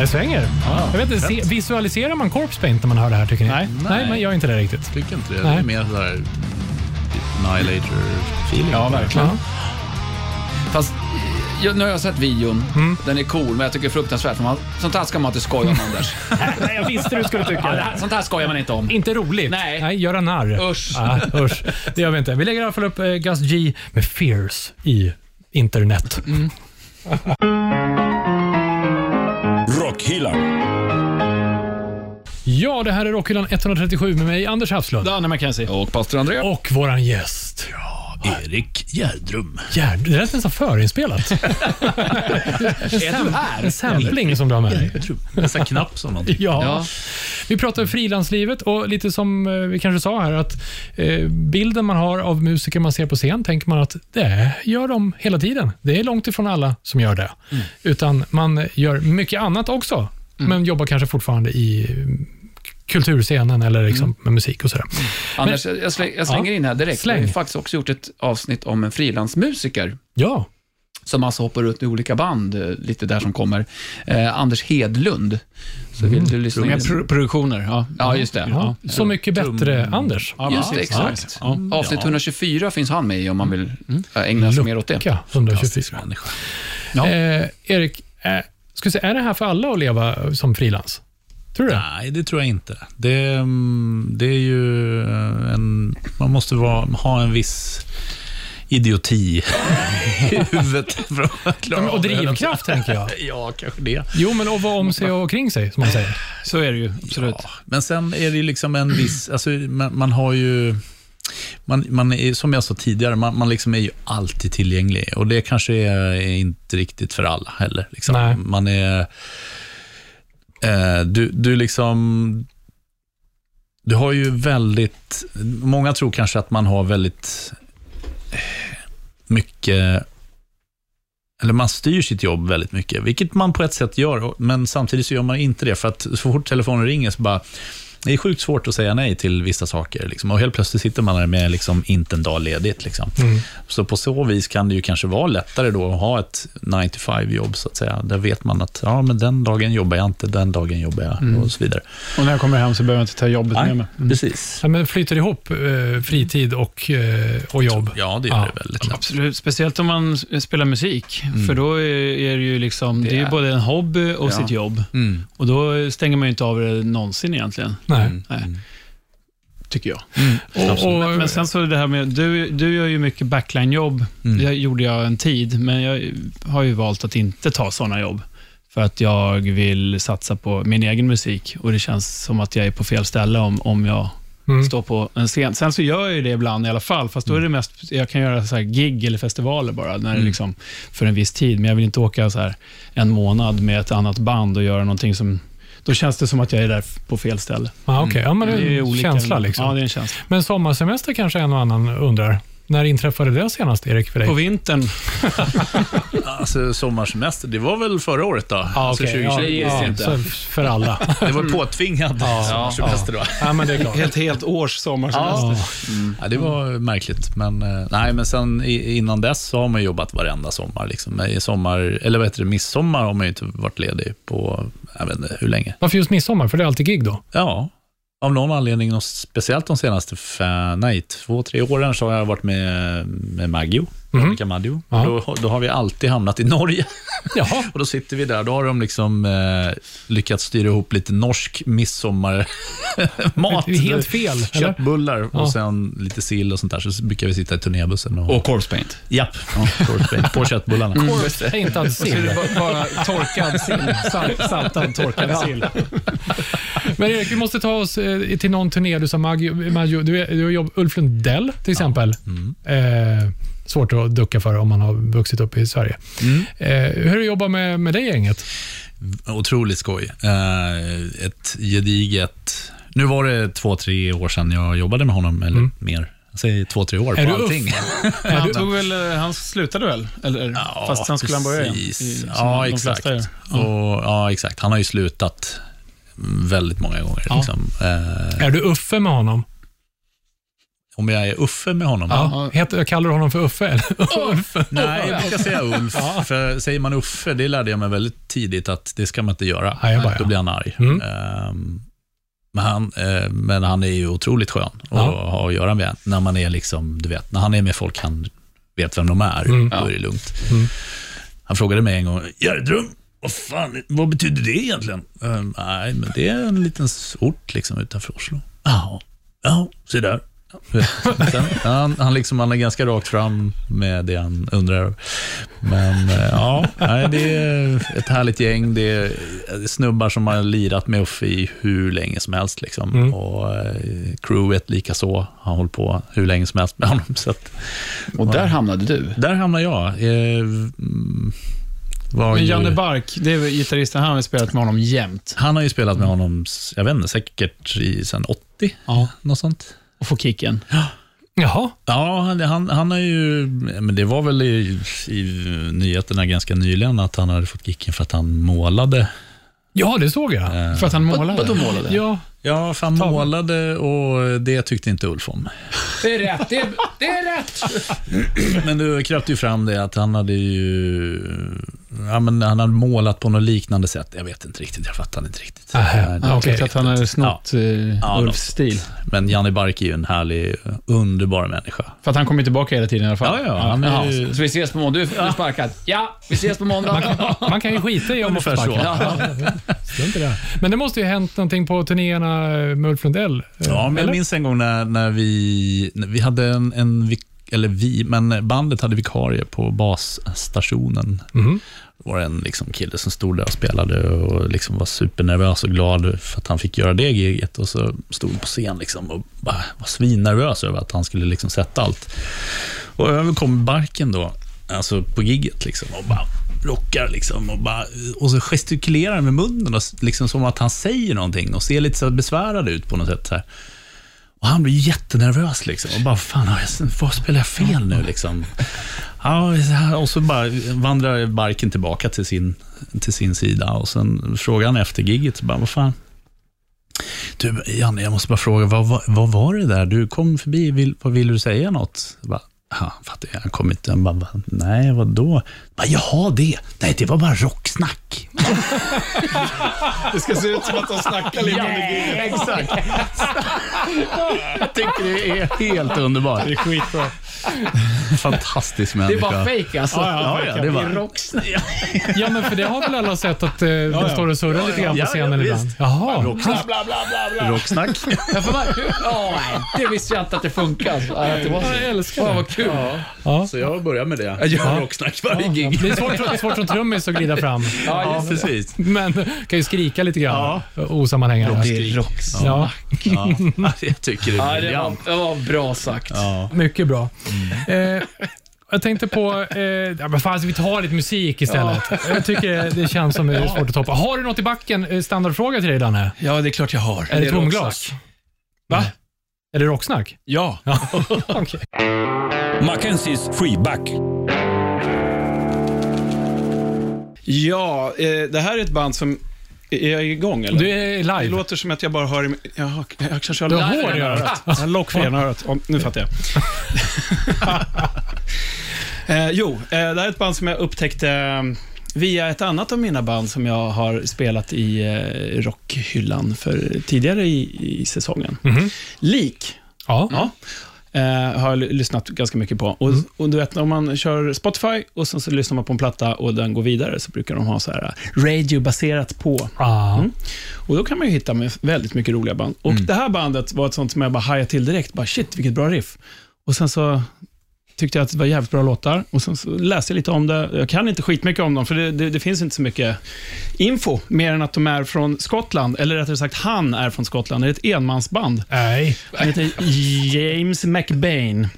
[SPEAKER 2] Det svänger. jag vet inte, se, visualiserar man Corpse Paint när man hör det här tycker ni?
[SPEAKER 4] Nej.
[SPEAKER 2] Ah, Nej, man gör inte det riktigt.
[SPEAKER 5] Tycker inte det. Det
[SPEAKER 2] Nej.
[SPEAKER 5] är mer sådär typ Annihilator-feeling.
[SPEAKER 4] Ja, verkligen.
[SPEAKER 3] Fast jag, nu har jag sett videon.
[SPEAKER 4] Mm.
[SPEAKER 3] Den är cool, men jag tycker det är fruktansvärt. För man, sånt här ska man inte skoja om, Anders.
[SPEAKER 2] Nej, jag visste du skulle tycka det.
[SPEAKER 3] Sånt här skojar man inte om.
[SPEAKER 2] Inte roligt.
[SPEAKER 3] Nej.
[SPEAKER 2] göra narr.
[SPEAKER 3] Usch.
[SPEAKER 2] Ja, usch. Det gör vi inte. Vi lägger i alla fall upp eh, Gus G med Fears i internet.
[SPEAKER 3] Mm.
[SPEAKER 1] Rockhyllan.
[SPEAKER 2] Ja, det här är Rockhyllan 137 med mig, Anders Hafslund.
[SPEAKER 4] Danne McKenzie.
[SPEAKER 3] Och pastor André.
[SPEAKER 2] Och våran gäst.
[SPEAKER 5] Erik Gärdrum.
[SPEAKER 2] Gerd, det lät nästan förinspelat.
[SPEAKER 3] är du här?
[SPEAKER 2] En sampling som du har med dig.
[SPEAKER 5] En sån här knapp som någonting.
[SPEAKER 2] Ja.
[SPEAKER 3] Ja.
[SPEAKER 2] Vi pratar om frilanslivet och lite som eh, vi kanske sa här att eh, bilden man har av musiker man ser på scen tänker man att det gör de hela tiden. Det är långt ifrån alla som gör det. Utan man gör mycket annat också, men jobbar kanske fortfarande i mm, kulturscenen eller liksom med musik och sådär.
[SPEAKER 3] Anders, jag, släng, jag slänger
[SPEAKER 2] Ja.
[SPEAKER 3] in här direkt.
[SPEAKER 2] Släng.
[SPEAKER 3] Vi har faktiskt också gjort ett avsnitt om en frilansmusiker
[SPEAKER 2] Ja,
[SPEAKER 3] som alltså hoppar runt i olika band, eh, lite där som kommer. Eh, Anders Hedlund. Så vill Mm. du lyssna in?
[SPEAKER 4] Med pro- produktioner. Ja.
[SPEAKER 3] Ja, just det.
[SPEAKER 2] ja. så mycket bättre Anders.
[SPEAKER 4] Ja,
[SPEAKER 3] Just det,
[SPEAKER 4] precis.
[SPEAKER 3] exakt.
[SPEAKER 4] Ja. Mm.
[SPEAKER 3] Avsnitt 124 finns han med i om man vill eh, ägna sig mer åt det.
[SPEAKER 2] Lucka 124.
[SPEAKER 5] Människa.
[SPEAKER 2] Eh, Erik, eh, ska säga, är det här för alla att leva som frilans? Tror du det?
[SPEAKER 5] Nej, det tror jag inte. Det, mm, det är ju eh, en... Man måste vara, ha en viss idioti i huvudet för att klara
[SPEAKER 2] Ja,
[SPEAKER 5] av
[SPEAKER 2] och
[SPEAKER 5] det.
[SPEAKER 2] drivkraft tänker jag.
[SPEAKER 5] Ja, kanske det.
[SPEAKER 2] Jo, men och vara om sig och kring sig, som man säger.
[SPEAKER 4] Så är det ju, absolut.
[SPEAKER 5] Ja, men sen är det ju liksom en viss, alltså, man, man har ju, man, man är, som jag sa tidigare, man, man liksom är ju alltid tillgänglig och det kanske är, är inte riktigt för alla heller.
[SPEAKER 2] Nej.
[SPEAKER 5] Liksom. Man är, eh, du, du liksom, du har ju väldigt, många tror kanske att man har väldigt eh, mycket eller man styr sitt jobb väldigt mycket, vilket man på ett sätt gör, och- men samtidigt så gör man inte det, för att så fort telefonen ringer så bara, det är sjukt svårt att säga nej till vissa saker. Liksom. Och helt plötsligt sitter man där med liksom, inte en dag ledigt. Liksom.
[SPEAKER 2] Mm.
[SPEAKER 5] Så på så vis kan det ju kanske vara lättare då att ha ett 9 to 5-jobb, så att säga. Där vet man att ja, men den dagen jobbar jag inte, den dagen jobbar jag
[SPEAKER 2] Mm.
[SPEAKER 5] och så vidare.
[SPEAKER 4] Och när jag kommer hem så behöver jag inte ta jobbet med mig.
[SPEAKER 5] precis.
[SPEAKER 2] Ja, men flyter ihop eh, fritid och, eh, och jobb.
[SPEAKER 5] Ja, det gör
[SPEAKER 2] Ja.
[SPEAKER 5] det liksom. väldigt lätt.
[SPEAKER 4] Absolut, speciellt om man s- spelar musik. För då är är det ju liksom, Mm. det är ju
[SPEAKER 3] är-
[SPEAKER 4] både en hobby
[SPEAKER 3] Ja.
[SPEAKER 4] och sitt jobb.
[SPEAKER 5] Mm.
[SPEAKER 4] Och då stänger man ju inte av det någonsin egentligen,
[SPEAKER 2] Nej.
[SPEAKER 4] tycker jag.
[SPEAKER 2] Och, och,
[SPEAKER 4] Men sen så det här med, du, du gör ju mycket backline-jobb.
[SPEAKER 5] Mm.
[SPEAKER 4] Det gjorde jag en tid, men jag har ju valt att inte ta sådana jobb. För att jag vill satsa på min egen musik och det känns som att jag är på fel ställe om, om jag
[SPEAKER 2] Mm.
[SPEAKER 4] står på en scen. Sen så gör jag ju det ibland i alla fall, fast då är det mest, jag kan göra så här gig eller festivaler bara, när det liksom, för en viss tid. Men jag vill inte åka så här en månad med ett annat band och göra någonting som, då känns det som att jag är där på fel ställe.
[SPEAKER 2] ja, Ah, okej. ja, men det
[SPEAKER 4] ju
[SPEAKER 2] är en känsla liksom.
[SPEAKER 4] Ja, det är en känsla.
[SPEAKER 2] Men sommarsemester kanske en och annan undrar. När inträffade det senast, Erik, för dig?
[SPEAKER 4] På vintern,
[SPEAKER 5] Alltså, sommarsemester, det var väl förra året då?
[SPEAKER 2] Ja,
[SPEAKER 5] alltså,
[SPEAKER 2] okej.
[SPEAKER 5] 2020.
[SPEAKER 2] ja, ja,
[SPEAKER 3] inte.
[SPEAKER 2] så för alla.
[SPEAKER 5] Det var påtvingat sommarsemester då.
[SPEAKER 2] ja, men det är klart.
[SPEAKER 4] helt, helt års sommarsemester.
[SPEAKER 5] Ja. ja, det var märkligt. Men, eh, nej, men sen i- innan dess så har man jobbat varenda sommar. Liksom. Men I sommar, eller vad heter det, midsommar har man ju inte varit ledig på, jag vet inte hur länge.
[SPEAKER 2] Varför just midsommar? För det är alltid gig då.
[SPEAKER 5] Ja, av någon anledning, och speciellt de senaste fem, nej, två, tre åren så har jag varit med, med Maggio. Veronica Maggio.
[SPEAKER 2] Mhm. Ja.
[SPEAKER 5] Då, då har vi alltid hamnat i Norge.
[SPEAKER 2] Jaha.
[SPEAKER 5] Och då sitter vi där, då har de liksom eh, lyckats styra ihop lite norsk midsommarmat.
[SPEAKER 2] Det är helt fel, eller?
[SPEAKER 5] Köttbullar och
[SPEAKER 2] Ja.
[SPEAKER 5] sen lite sill och sånt där. Så brukar vi sitta i turnébussen och...
[SPEAKER 3] Och Corpse Paint.
[SPEAKER 5] Japp, korvspett på köttbullarna.
[SPEAKER 2] Mm. Paintad sill.
[SPEAKER 4] Bara torkad sill. Salt, saltad torkad sill.
[SPEAKER 2] Men Erik, vi måste ta oss eh, till någon turné. Du sa Maggio, Maggio du, är- du har jobb, Ulf Lundell till exempel.
[SPEAKER 5] Mm.
[SPEAKER 2] Eh, svårt att ducka för om man har vuxit upp i Sverige.
[SPEAKER 5] Mm.
[SPEAKER 2] Eh, hur är det att jobba med, med det gänget?
[SPEAKER 5] Otroligt skoj. Eh, ett gediget Nu var det två, tre år sedan jag jobbade med honom, eller mer. Säg två, tre år
[SPEAKER 2] Mm. Är
[SPEAKER 5] på
[SPEAKER 2] du
[SPEAKER 5] allting.
[SPEAKER 4] Men han, tog väl, eh, han slutade väl? Eller, fast sen skulle han börja igen.
[SPEAKER 5] precis.
[SPEAKER 4] i- som
[SPEAKER 5] ja,
[SPEAKER 4] de
[SPEAKER 5] exakt.
[SPEAKER 4] flesta gör.
[SPEAKER 5] Och, ja, exakt. Han har ju slutat väldigt många gånger. Liksom. Eh,
[SPEAKER 2] Är du Uffe med honom?
[SPEAKER 5] om jag är Uffe med honom?
[SPEAKER 2] Ja. Heter, jag kallar du honom för Uffe? Eller? Ulf.
[SPEAKER 5] Nej, jag brukar säga Ulf. För säger man Uffe, det lärde jag mig väldigt tidigt att det ska man inte göra.
[SPEAKER 2] Ja, jag bara, ja.
[SPEAKER 5] Då blir han arg.
[SPEAKER 2] Mm.
[SPEAKER 5] Ehm, men, han, eh, men han är ju otroligt skön att
[SPEAKER 2] Ja.
[SPEAKER 5] ha att göra med. När man är liksom, du vet, när han är med folk han vet vem de är,
[SPEAKER 2] Mm.
[SPEAKER 5] då är det lugnt.
[SPEAKER 2] Mm.
[SPEAKER 5] Han frågade mig en gång, Gärdrum, vad fan, vad betyder det egentligen? Ehm, nej, men det är en liten ort liksom utanför Oslo. Ja, ja, se där. Sen, han, han, liksom, han är ganska rakt fram med det han undrar över. Men eh, ja, nej, det är ett härligt gäng. Det är snubbar som har lirat med Uffe i hur länge som helst. Liksom.
[SPEAKER 2] Mm.
[SPEAKER 5] Och eh, crewet lika så. Han håller på hur länge som helst med honom. Så att,
[SPEAKER 3] Och där hamnade du.
[SPEAKER 5] där hamnar jag. Eh, mm, var
[SPEAKER 4] Men
[SPEAKER 5] ju-
[SPEAKER 4] Janne Bark, det är väl gitarristen, han har ju spelat med honom jämt.
[SPEAKER 5] han har ju spelat med honom, s- jag vet inte, säkert i, sen 80,
[SPEAKER 4] Ja.
[SPEAKER 5] något sånt.
[SPEAKER 4] Och får kicken.
[SPEAKER 2] Jaha,
[SPEAKER 5] Ja, han, han, han har ju, men det var väl i, i nyheterna ganska nyligen att han hade fått kicken för att han målade.
[SPEAKER 2] ja det såg jag.
[SPEAKER 5] Eh.
[SPEAKER 4] För att han målade.
[SPEAKER 3] Vadå målade?
[SPEAKER 2] Ja,
[SPEAKER 5] Ja, för han målade och det tyckte inte Ulf om.
[SPEAKER 3] Det är rätt. Det är, det är rätt.
[SPEAKER 5] Men du kröp ju fram det att han hade ju, ja men han hade målat på något liknande sätt. Jag vet inte riktigt, jag fattar inte riktigt.
[SPEAKER 2] Nähä.
[SPEAKER 5] Ja, det-
[SPEAKER 4] Han
[SPEAKER 2] Okej.
[SPEAKER 4] tyckte att han hade snott ja.
[SPEAKER 5] Ja,
[SPEAKER 4] Ulfs stil.
[SPEAKER 5] Men Janne Bark är ju en härlig, underbar människa.
[SPEAKER 4] För att han kommer tillbaka hela tiden i alla fall.
[SPEAKER 5] Ja, ja, han är
[SPEAKER 4] Jaha.
[SPEAKER 5] ju-
[SPEAKER 3] Så vi ses på måndag. Du du är sparkad. Ja, vi ses på måndag.
[SPEAKER 2] man kan ju skita i om man får
[SPEAKER 5] Ungefär så.
[SPEAKER 2] sparken.
[SPEAKER 3] Ja.
[SPEAKER 2] Strunt i det. Men det måste ju ha hänt någonting på turnéerna med Ulf Lundell. eh,
[SPEAKER 5] Ja, men
[SPEAKER 2] eller?
[SPEAKER 5] jag minns en gång när, när vi, när vi hade en, en, vik- eller vi, men bandet hade vikarie på basstationen.
[SPEAKER 2] Mhm.
[SPEAKER 5] Det var en liksom kille som stod där och spelade och liksom var supernervös och glad för att han fick göra det giget. Och så stod han på scen liksom och bara var svinnervös över att han skulle liksom sätta allt. Och över kom Barken då, alltså på gigget liksom och bara rockar liksom och, bara, och så gestikulerar med munnen och s- liksom som att han säger någonting och ser lite så här besvärad ut på något sätt. Så här. Och han blir jättenervös liksom. Och bara, fan, har jag- vad spelar jag fel nu liksom? Ja, så här. och så bara vandrar Barken tillbaka till sin, till sin sida och sen frågar han efter gigget, så bara, vad fan? Du, Janne, jag måste bara fråga, vad, vad, vad var det där? Du kom förbi, vill, vad ville du säga något? Jag Bara, "Ja, han fattar jag, han kom inte. Han bara, "Va? nej, vadå? Jag Bara, Jaha, det. Nej, det var bara rocksnack.
[SPEAKER 4] Det ska se ut som att de snackar lite under grejen.
[SPEAKER 5] Exakt. Jag tycker det är helt underbart.
[SPEAKER 4] Det är skitbra.
[SPEAKER 5] Fantastisk
[SPEAKER 3] Det
[SPEAKER 5] människa.
[SPEAKER 3] är bara fejk alltså.
[SPEAKER 5] Ja, ja, det var...
[SPEAKER 3] Rocksnack.
[SPEAKER 2] Ja, men för det har väl alla sett att eh, de
[SPEAKER 4] ja.
[SPEAKER 2] står och surrar lite grann
[SPEAKER 5] Ja,
[SPEAKER 2] på
[SPEAKER 5] ja,
[SPEAKER 2] scenen
[SPEAKER 5] visst.
[SPEAKER 2] ibland. Jaha.
[SPEAKER 5] Rocksnack. Rocksnack.
[SPEAKER 3] Jag får bara, Ja, nej, det visste jag inte att det funkar. Alltså. Ja, det var så.
[SPEAKER 2] Jag älskar
[SPEAKER 3] Fan,
[SPEAKER 2] det.
[SPEAKER 3] vad kul.
[SPEAKER 5] Så jag börjar med det. Jag gör rocksnack varje
[SPEAKER 2] Ja,
[SPEAKER 5] gig.
[SPEAKER 2] Det är svårt, det är svårt som trummis att glida fram,
[SPEAKER 3] Ja,
[SPEAKER 5] Ja,
[SPEAKER 3] just det.
[SPEAKER 5] precis.
[SPEAKER 2] men kan ju skrika lite grann. Osammanhängande.
[SPEAKER 5] är rocksnack.
[SPEAKER 2] Ja,
[SPEAKER 5] Ja. Jag tycker det
[SPEAKER 3] Ja, det var,
[SPEAKER 5] är briljant.
[SPEAKER 3] det var bra sagt.
[SPEAKER 5] Ja.
[SPEAKER 2] mycket bra. Eh, jag tänkte på... Eh, ja, men fan, vi tar lite musik istället. Jag tycker det känns som det är svårt att toppa. Har du något i backen? Eh, Standardfråga till dig, Danne.
[SPEAKER 4] Ja, det är klart jag har.
[SPEAKER 2] Är det
[SPEAKER 3] det
[SPEAKER 2] tomglas? Va? Är det rocksnack?
[SPEAKER 4] Ja.
[SPEAKER 2] Okej.
[SPEAKER 1] Mackenzies Freeback.
[SPEAKER 4] Ja, eh, det här är ett band som... Är jag igång eller?
[SPEAKER 2] Du är
[SPEAKER 4] Det
[SPEAKER 2] live.
[SPEAKER 4] låter som att jag bara hör i... Jaha, jag kanske har
[SPEAKER 2] Du har
[SPEAKER 4] lock-
[SPEAKER 2] hår i örat.
[SPEAKER 4] Jag har lock för ena örat. Om- nu fattar jag. eh, jo, eh, det här är ett band som jag upptäckte eh, via ett annat av mina band som jag har spelat i eh, rockhyllan för tidigare i, i säsongen.
[SPEAKER 2] Mhm.
[SPEAKER 4] Lik
[SPEAKER 2] Ja.
[SPEAKER 4] Ja. Eh, har jag l- lyssnat ganska mycket på. Och, och du vet, om man kör Spotify och sen så lyssnar man på en platta och den går vidare, så brukar de ha så här eh, radio baserat på.
[SPEAKER 2] Ah.
[SPEAKER 4] Mm. Och då kan man ju hitta med väldigt mycket roliga band. Och det här bandet var ett sånt som jag bara hajade till direkt. Bara shit, vilket bra riff. Och sen så tyckte jag att det var jävligt bra låtar. Och sen så läste jag lite om det. Jag kan inte skitmycket om dem, för det, det, det finns inte så mycket info, mer än att de är från Skottland. Eller rättare sagt, han är från Skottland. Det är ett enmansband.
[SPEAKER 2] Nej.
[SPEAKER 4] Han heter James McBain.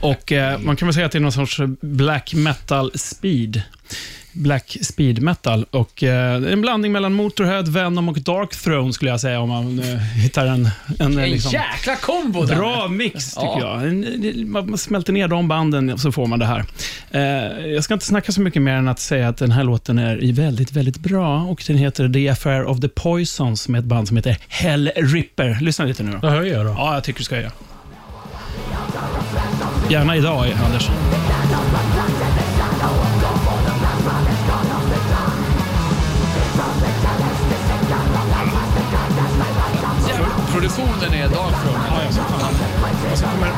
[SPEAKER 4] Och eh, man kan väl säga att det är någon sorts black metal speed. Black Speed Metal. Och, eh, en blandning mellan Motorhead, Venom och Dark Throne skulle jag säga om man eh, hittar en... en
[SPEAKER 3] En
[SPEAKER 4] liksom,
[SPEAKER 3] jäkla kombo där.
[SPEAKER 4] Bra mix tycker
[SPEAKER 3] Ja.
[SPEAKER 4] jag. En- en- Man smälter ner de banden och så får man det här. Eh, Jag ska inte snacka så mycket mer än att säga att den här låten är väldigt, väldigt bra och den heter The Affair of the Poisons med ett band som heter Hell Ripper. Lyssna lite nu då.
[SPEAKER 2] Vad hör jag då?
[SPEAKER 4] Ja, jag tycker du ska göra. Gärna idag, Anders.
[SPEAKER 3] Jävlar, Produktionen är dagfrån.
[SPEAKER 4] Ja, jag ska ta hand Och så kommer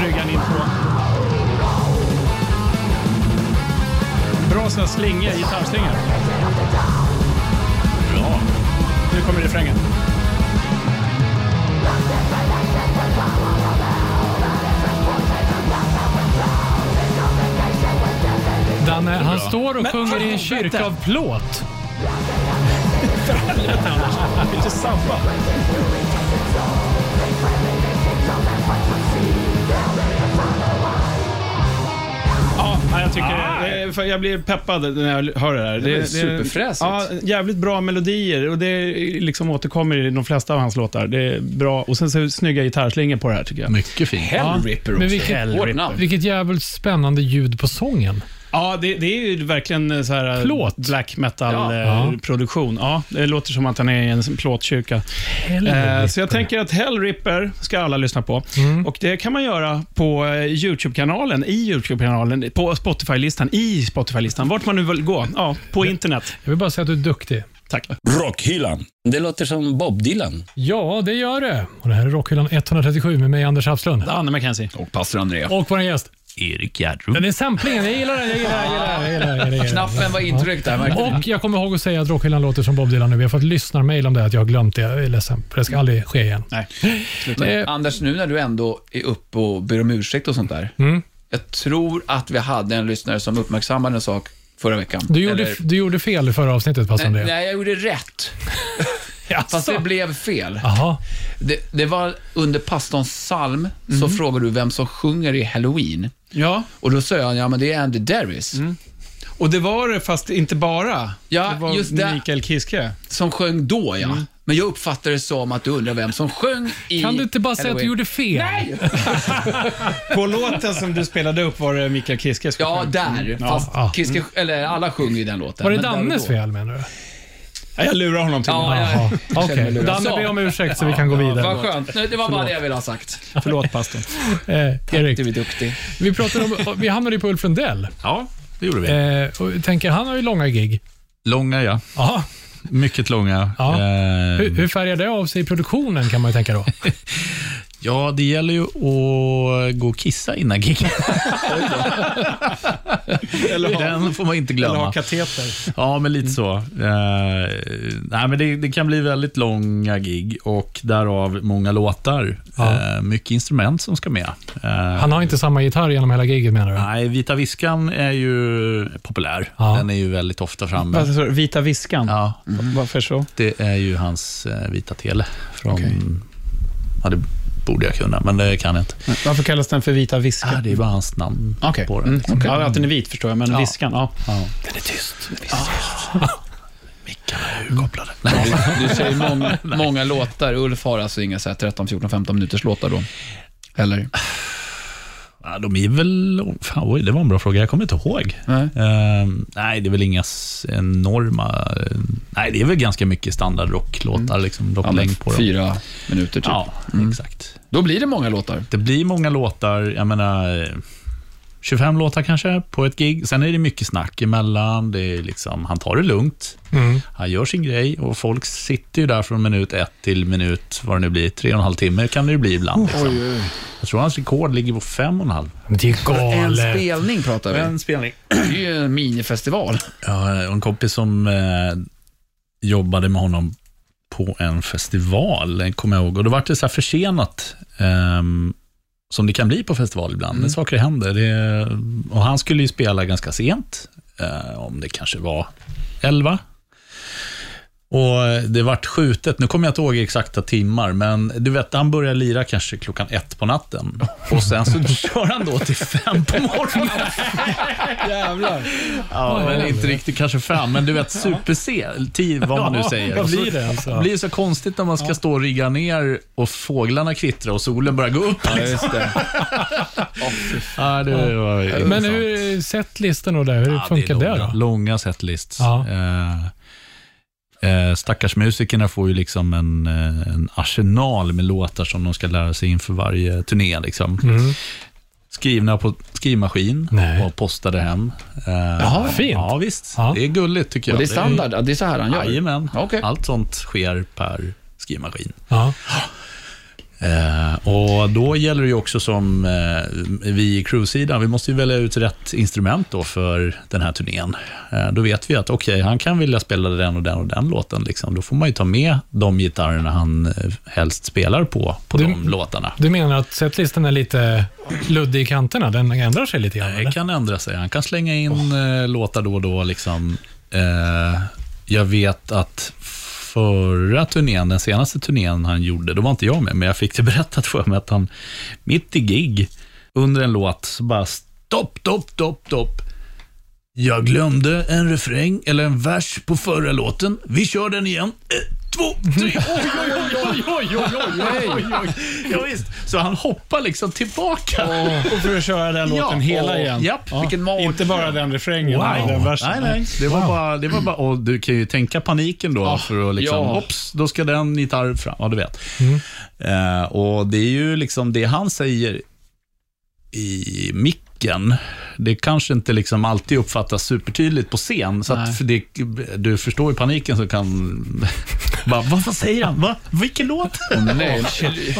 [SPEAKER 4] bryggan in på. Bra såna slingor, gitarrslingor. Bra. Nu kommer refrängen.
[SPEAKER 2] Danne, han står och sjunger i en kyrka av plåt.
[SPEAKER 4] Lite sabba. Ja, nej, jag, tycker, det är- för jag blir peppad när jag hör det här. Det,
[SPEAKER 3] är
[SPEAKER 4] det-
[SPEAKER 3] superfräsigt.
[SPEAKER 4] Ja, jävligt bra melodier och det är- liksom återkommer i de flesta av hans låtar. Det är bra. Och sen så snygga gitarrslingor på det här tycker jag.
[SPEAKER 5] Mycket fint.
[SPEAKER 3] Hellripper också.
[SPEAKER 2] Men vilket,
[SPEAKER 3] Hårt namn.
[SPEAKER 2] vilket jävligt spännande ljud på sången.
[SPEAKER 4] Ja, det, det är ju verkligen så här eh,
[SPEAKER 2] Plåt.
[SPEAKER 4] black metal
[SPEAKER 3] Ja.
[SPEAKER 4] eh,
[SPEAKER 2] Ja.
[SPEAKER 4] produktion. Ja, det låter som att han är i en plåtkyrka. Eh, så jag tänker att Hell Ripper ska alla lyssna på. Och Det kan man göra på eh, YouTube-kanalen, i YouTube-kanalen, på Spotify-listan, i Spotify-listan, vart man nu vill gå. Ja, på internet.
[SPEAKER 2] Jag vill bara säga att du är duktig.
[SPEAKER 4] Tack.
[SPEAKER 1] Rockhyllan. Det låter som Bob Dylan.
[SPEAKER 2] Ja, det gör det. Och det här är Rockhyllan 137 med mig, Anders Hafslund.
[SPEAKER 4] Danne McKenzie.
[SPEAKER 3] Och pastor Andrea.
[SPEAKER 2] Och vår gäst.
[SPEAKER 5] Erik Järrup.
[SPEAKER 2] Den är samplingen. Jag gillar den. Jag gillar den. Jag gillar den, jag gillar den, jag gillar den.
[SPEAKER 3] Knappen var intryckt där. verkligen.
[SPEAKER 2] Och jag kommer ihåg att säga att Rockhyllan låter som Bob Dylan nu. Vi har fått lyssnarmail om det, att jag har glömt det. Jag är ledsen, för det ska aldrig ske igen.
[SPEAKER 4] Nej.
[SPEAKER 2] Eh,
[SPEAKER 3] Anders, nu när du ändå är uppe och ber om ursäkt och sånt där.
[SPEAKER 2] Mm.
[SPEAKER 3] Jag tror att vi hade en lyssnare som uppmärksammade en sak förra veckan.
[SPEAKER 2] Du gjorde,
[SPEAKER 3] Eller-
[SPEAKER 2] du gjorde fel i förra avsnittet, passar
[SPEAKER 3] nej,
[SPEAKER 2] det.
[SPEAKER 3] nej, jag gjorde rätt. Fast
[SPEAKER 2] Jaså?
[SPEAKER 3] det blev fel.
[SPEAKER 2] Jaha.
[SPEAKER 3] Det, det var under pastorns psalm,
[SPEAKER 2] Mm.
[SPEAKER 3] så frågade du vem som sjunger i Halloween.
[SPEAKER 4] Ja,
[SPEAKER 3] Och då sa jag, ja men det är Andy Davis
[SPEAKER 2] Mm.
[SPEAKER 4] och det var det, fast inte bara.
[SPEAKER 3] Ja,
[SPEAKER 4] det var
[SPEAKER 3] just det.
[SPEAKER 4] Mikael Kiske.
[SPEAKER 3] som sjöng då, ja. Men jag uppfattade det som att du undrar vem som sjöng i
[SPEAKER 2] Mm. Kan du inte bara säga att du
[SPEAKER 3] Halloween.
[SPEAKER 2] gjorde fel?
[SPEAKER 3] Nej!
[SPEAKER 4] På låten som du spelade upp var det Mikael Kiske. som
[SPEAKER 3] Ja,
[SPEAKER 4] sjöng.
[SPEAKER 3] där. Fast
[SPEAKER 2] Ja.
[SPEAKER 3] Kiske, eller alla sjunger ju den låten.
[SPEAKER 2] Var det
[SPEAKER 3] men där och
[SPEAKER 2] Dannes
[SPEAKER 3] då.
[SPEAKER 2] fel, menar du?
[SPEAKER 4] Ja, Jag lurar honom till
[SPEAKER 3] Ja,
[SPEAKER 4] det.
[SPEAKER 2] Jaha.
[SPEAKER 3] jag
[SPEAKER 2] Okej,
[SPEAKER 3] känner mig lurad.
[SPEAKER 2] Danne
[SPEAKER 3] Så.
[SPEAKER 2] ber om ursäkt så vi kan gå vidare.
[SPEAKER 3] Vad skönt. Nu, Det var bara det jag ville ha sagt.
[SPEAKER 4] Förlåt, pastorn.
[SPEAKER 2] Eh, Erik,
[SPEAKER 3] Du är duktig.
[SPEAKER 2] vi, pratade om, vi hamnade ju på Ulf Lundell.
[SPEAKER 5] Ja, det gjorde vi.
[SPEAKER 2] Eh, och jag tänker, han har ju långa gig.
[SPEAKER 5] Långa, ja.
[SPEAKER 2] Ja.
[SPEAKER 5] Mycket långa.
[SPEAKER 2] Ja.
[SPEAKER 5] Eh,
[SPEAKER 2] Hur, hur färgar det av sig i produktionen, kan man ju tänka då?
[SPEAKER 5] ja, det gäller ju att gå och kissa innan giget.
[SPEAKER 4] Eller ha,
[SPEAKER 5] Den får man inte
[SPEAKER 4] eller ha
[SPEAKER 5] glömma.
[SPEAKER 4] kateter.
[SPEAKER 5] Ja, men lite så. Eh, nej, men det, det kan bli väldigt långa gig och därav många låtar.
[SPEAKER 2] Ja.
[SPEAKER 5] Eh, mycket instrument som ska med. Eh,
[SPEAKER 2] Han har inte samma gitarr genom hela giget, menar du?
[SPEAKER 5] Nej, Vita Viskan är ju populär.
[SPEAKER 2] Ja.
[SPEAKER 5] Den är ju väldigt ofta
[SPEAKER 3] Mm.
[SPEAKER 5] framme.
[SPEAKER 4] Alltså, så, vita viskan.
[SPEAKER 5] Ja,
[SPEAKER 4] Varför så?
[SPEAKER 5] det är ju hans eh, Vita Tele från... Ja, det borde jag kunna, men det kan jag inte.
[SPEAKER 4] Varför kallas den för vita viskan?
[SPEAKER 5] Ja, det är bara hans namn
[SPEAKER 4] Okej.
[SPEAKER 5] på den.
[SPEAKER 4] Mm. Ja, att den är vit förstår jag, men viskan, ja.
[SPEAKER 5] Den är tyst. Mickarna är urkopplade.
[SPEAKER 3] Du säger många, många låtar. Ulf har alltså inga så här 13, 14, 15 minuters låtar då? Eller?
[SPEAKER 5] Ja, de är väl... Fan, oj, det var en bra fråga. Jag kommer inte ihåg.
[SPEAKER 3] Nej.
[SPEAKER 5] Ehm, nej, det är väl inga s- enorma... Nej, det är väl ganska mycket standard rocklåtar, liksom
[SPEAKER 3] Mm. Ja, men
[SPEAKER 5] rocklängd på dem.
[SPEAKER 3] fyra minuter typ.
[SPEAKER 5] Ja, exakt.
[SPEAKER 3] Då blir det många låtar.
[SPEAKER 5] Det blir många låtar, jag menar eh, 25 låtar kanske på ett gig. Sen är det mycket snack emellan. Det är liksom, han tar det lugnt,
[SPEAKER 2] Mm.
[SPEAKER 5] han gör sin grej och folk sitter ju där från minut ett till minut, vad det nu blir, tre och en halv timme kan det ju bli ibland. Liksom. Jag tror hans rekord ligger på fem och en halv.
[SPEAKER 2] Men det är
[SPEAKER 3] En
[SPEAKER 2] galet.
[SPEAKER 3] spelning pratar vi.
[SPEAKER 5] spelning.
[SPEAKER 3] Det är ju en minifestival.
[SPEAKER 5] Ja, och en kompis som eh, jobbade med honom på en festival, eh, kommer jag ihåg. Och då var det så här försenat, ehm, som det kan bli på festival ibland. Men saker händer. Det, och han skulle ju spela ganska sent, eh, om det kanske var elva. Och det vart skjutet, nu kommer jag inte ihåg exakta timmar, men du vet, han började lira kanske klockan ett på natten. Och sen så kör han då till fem på morgonen.
[SPEAKER 4] Jävlar.
[SPEAKER 5] Ja, men inte riktigt kanske fem, men du vet, super tid vad man nu säger.
[SPEAKER 2] Vad
[SPEAKER 5] Och så-
[SPEAKER 2] blir det
[SPEAKER 5] det
[SPEAKER 2] alltså?
[SPEAKER 5] blir så konstigt när man ska stå och rigga ner och fåglarna kvittrar och solen börjar gå upp. liksom. Ja, just det. ja, det var ju
[SPEAKER 2] Men hur, setlisten och det, hur
[SPEAKER 5] Ja,
[SPEAKER 2] funkar det,
[SPEAKER 5] är långa,
[SPEAKER 2] då?
[SPEAKER 5] Långa setlists.
[SPEAKER 2] Ja.
[SPEAKER 5] Eh, eh, stackars musikerna får ju liksom en, eh, en arsenal med låtar som de ska lära sig inför varje turné. Liksom.
[SPEAKER 2] Mm.
[SPEAKER 5] Skrivna på skrivmaskin
[SPEAKER 2] Nej.
[SPEAKER 5] och postade hem. Eh,
[SPEAKER 2] Jaha, fint.
[SPEAKER 5] Ja, visst.
[SPEAKER 2] Ja.
[SPEAKER 5] Det är gulligt tycker jag.
[SPEAKER 3] Och det är standard, ja, det är så här han gör.
[SPEAKER 5] Jajamän.
[SPEAKER 3] Okej.
[SPEAKER 5] Allt sånt sker per skrivmaskin.
[SPEAKER 2] Ja.
[SPEAKER 5] Eh, och då gäller det ju också som eh, vi i crewsidan, vi måste ju välja ut rätt instrument då för den här turnén. Eh, då vet vi att okej, han kan vilja spela den och den och den låten. Liksom. Då får man ju ta med de gitarrerna han eh, helst spelar på, på
[SPEAKER 2] Du-
[SPEAKER 5] de låtarna.
[SPEAKER 2] Du menar att setlisten är lite luddig i kanterna? Den ändrar sig lite grann?
[SPEAKER 5] Det
[SPEAKER 2] eller?
[SPEAKER 5] kan ändra sig. Han kan slänga in eh, låtar då och då. Liksom. Eh, jag vet att förra turnén, den senaste turnén han gjorde, då var inte jag med, men jag fick det berättat för mig att han mitt i gig, under en låt, så bara stopp, stopp, stopp, stopp. Jag glömde en refräng eller en vers på förra låten. Vi kör den igen. Ett, två, tre. Oj, oj, oj, oj, oj, oj, oj, oj, oj. Ja, visst. Så han hoppar liksom tillbaka.
[SPEAKER 4] Och för att köra den låten hela
[SPEAKER 5] och-
[SPEAKER 4] igen.
[SPEAKER 5] Japp, vilken mag.
[SPEAKER 4] Inte bara den refrängen,
[SPEAKER 5] Wow.
[SPEAKER 4] wow. den versen.
[SPEAKER 5] Nej, nej. Det var bara, det var bara, och du kan ju tänka paniken då, för att liksom,
[SPEAKER 3] ja.
[SPEAKER 5] hopps, då ska den gitarr fram. Ja, du vet. Eh, och det är ju liksom det han säger i micken, det kanske inte liksom alltid uppfattas supertydligt på scen, så att för det, du förstår ju paniken som kan... bara, vad vad säger han? Va? Vilken låt?
[SPEAKER 3] Nej,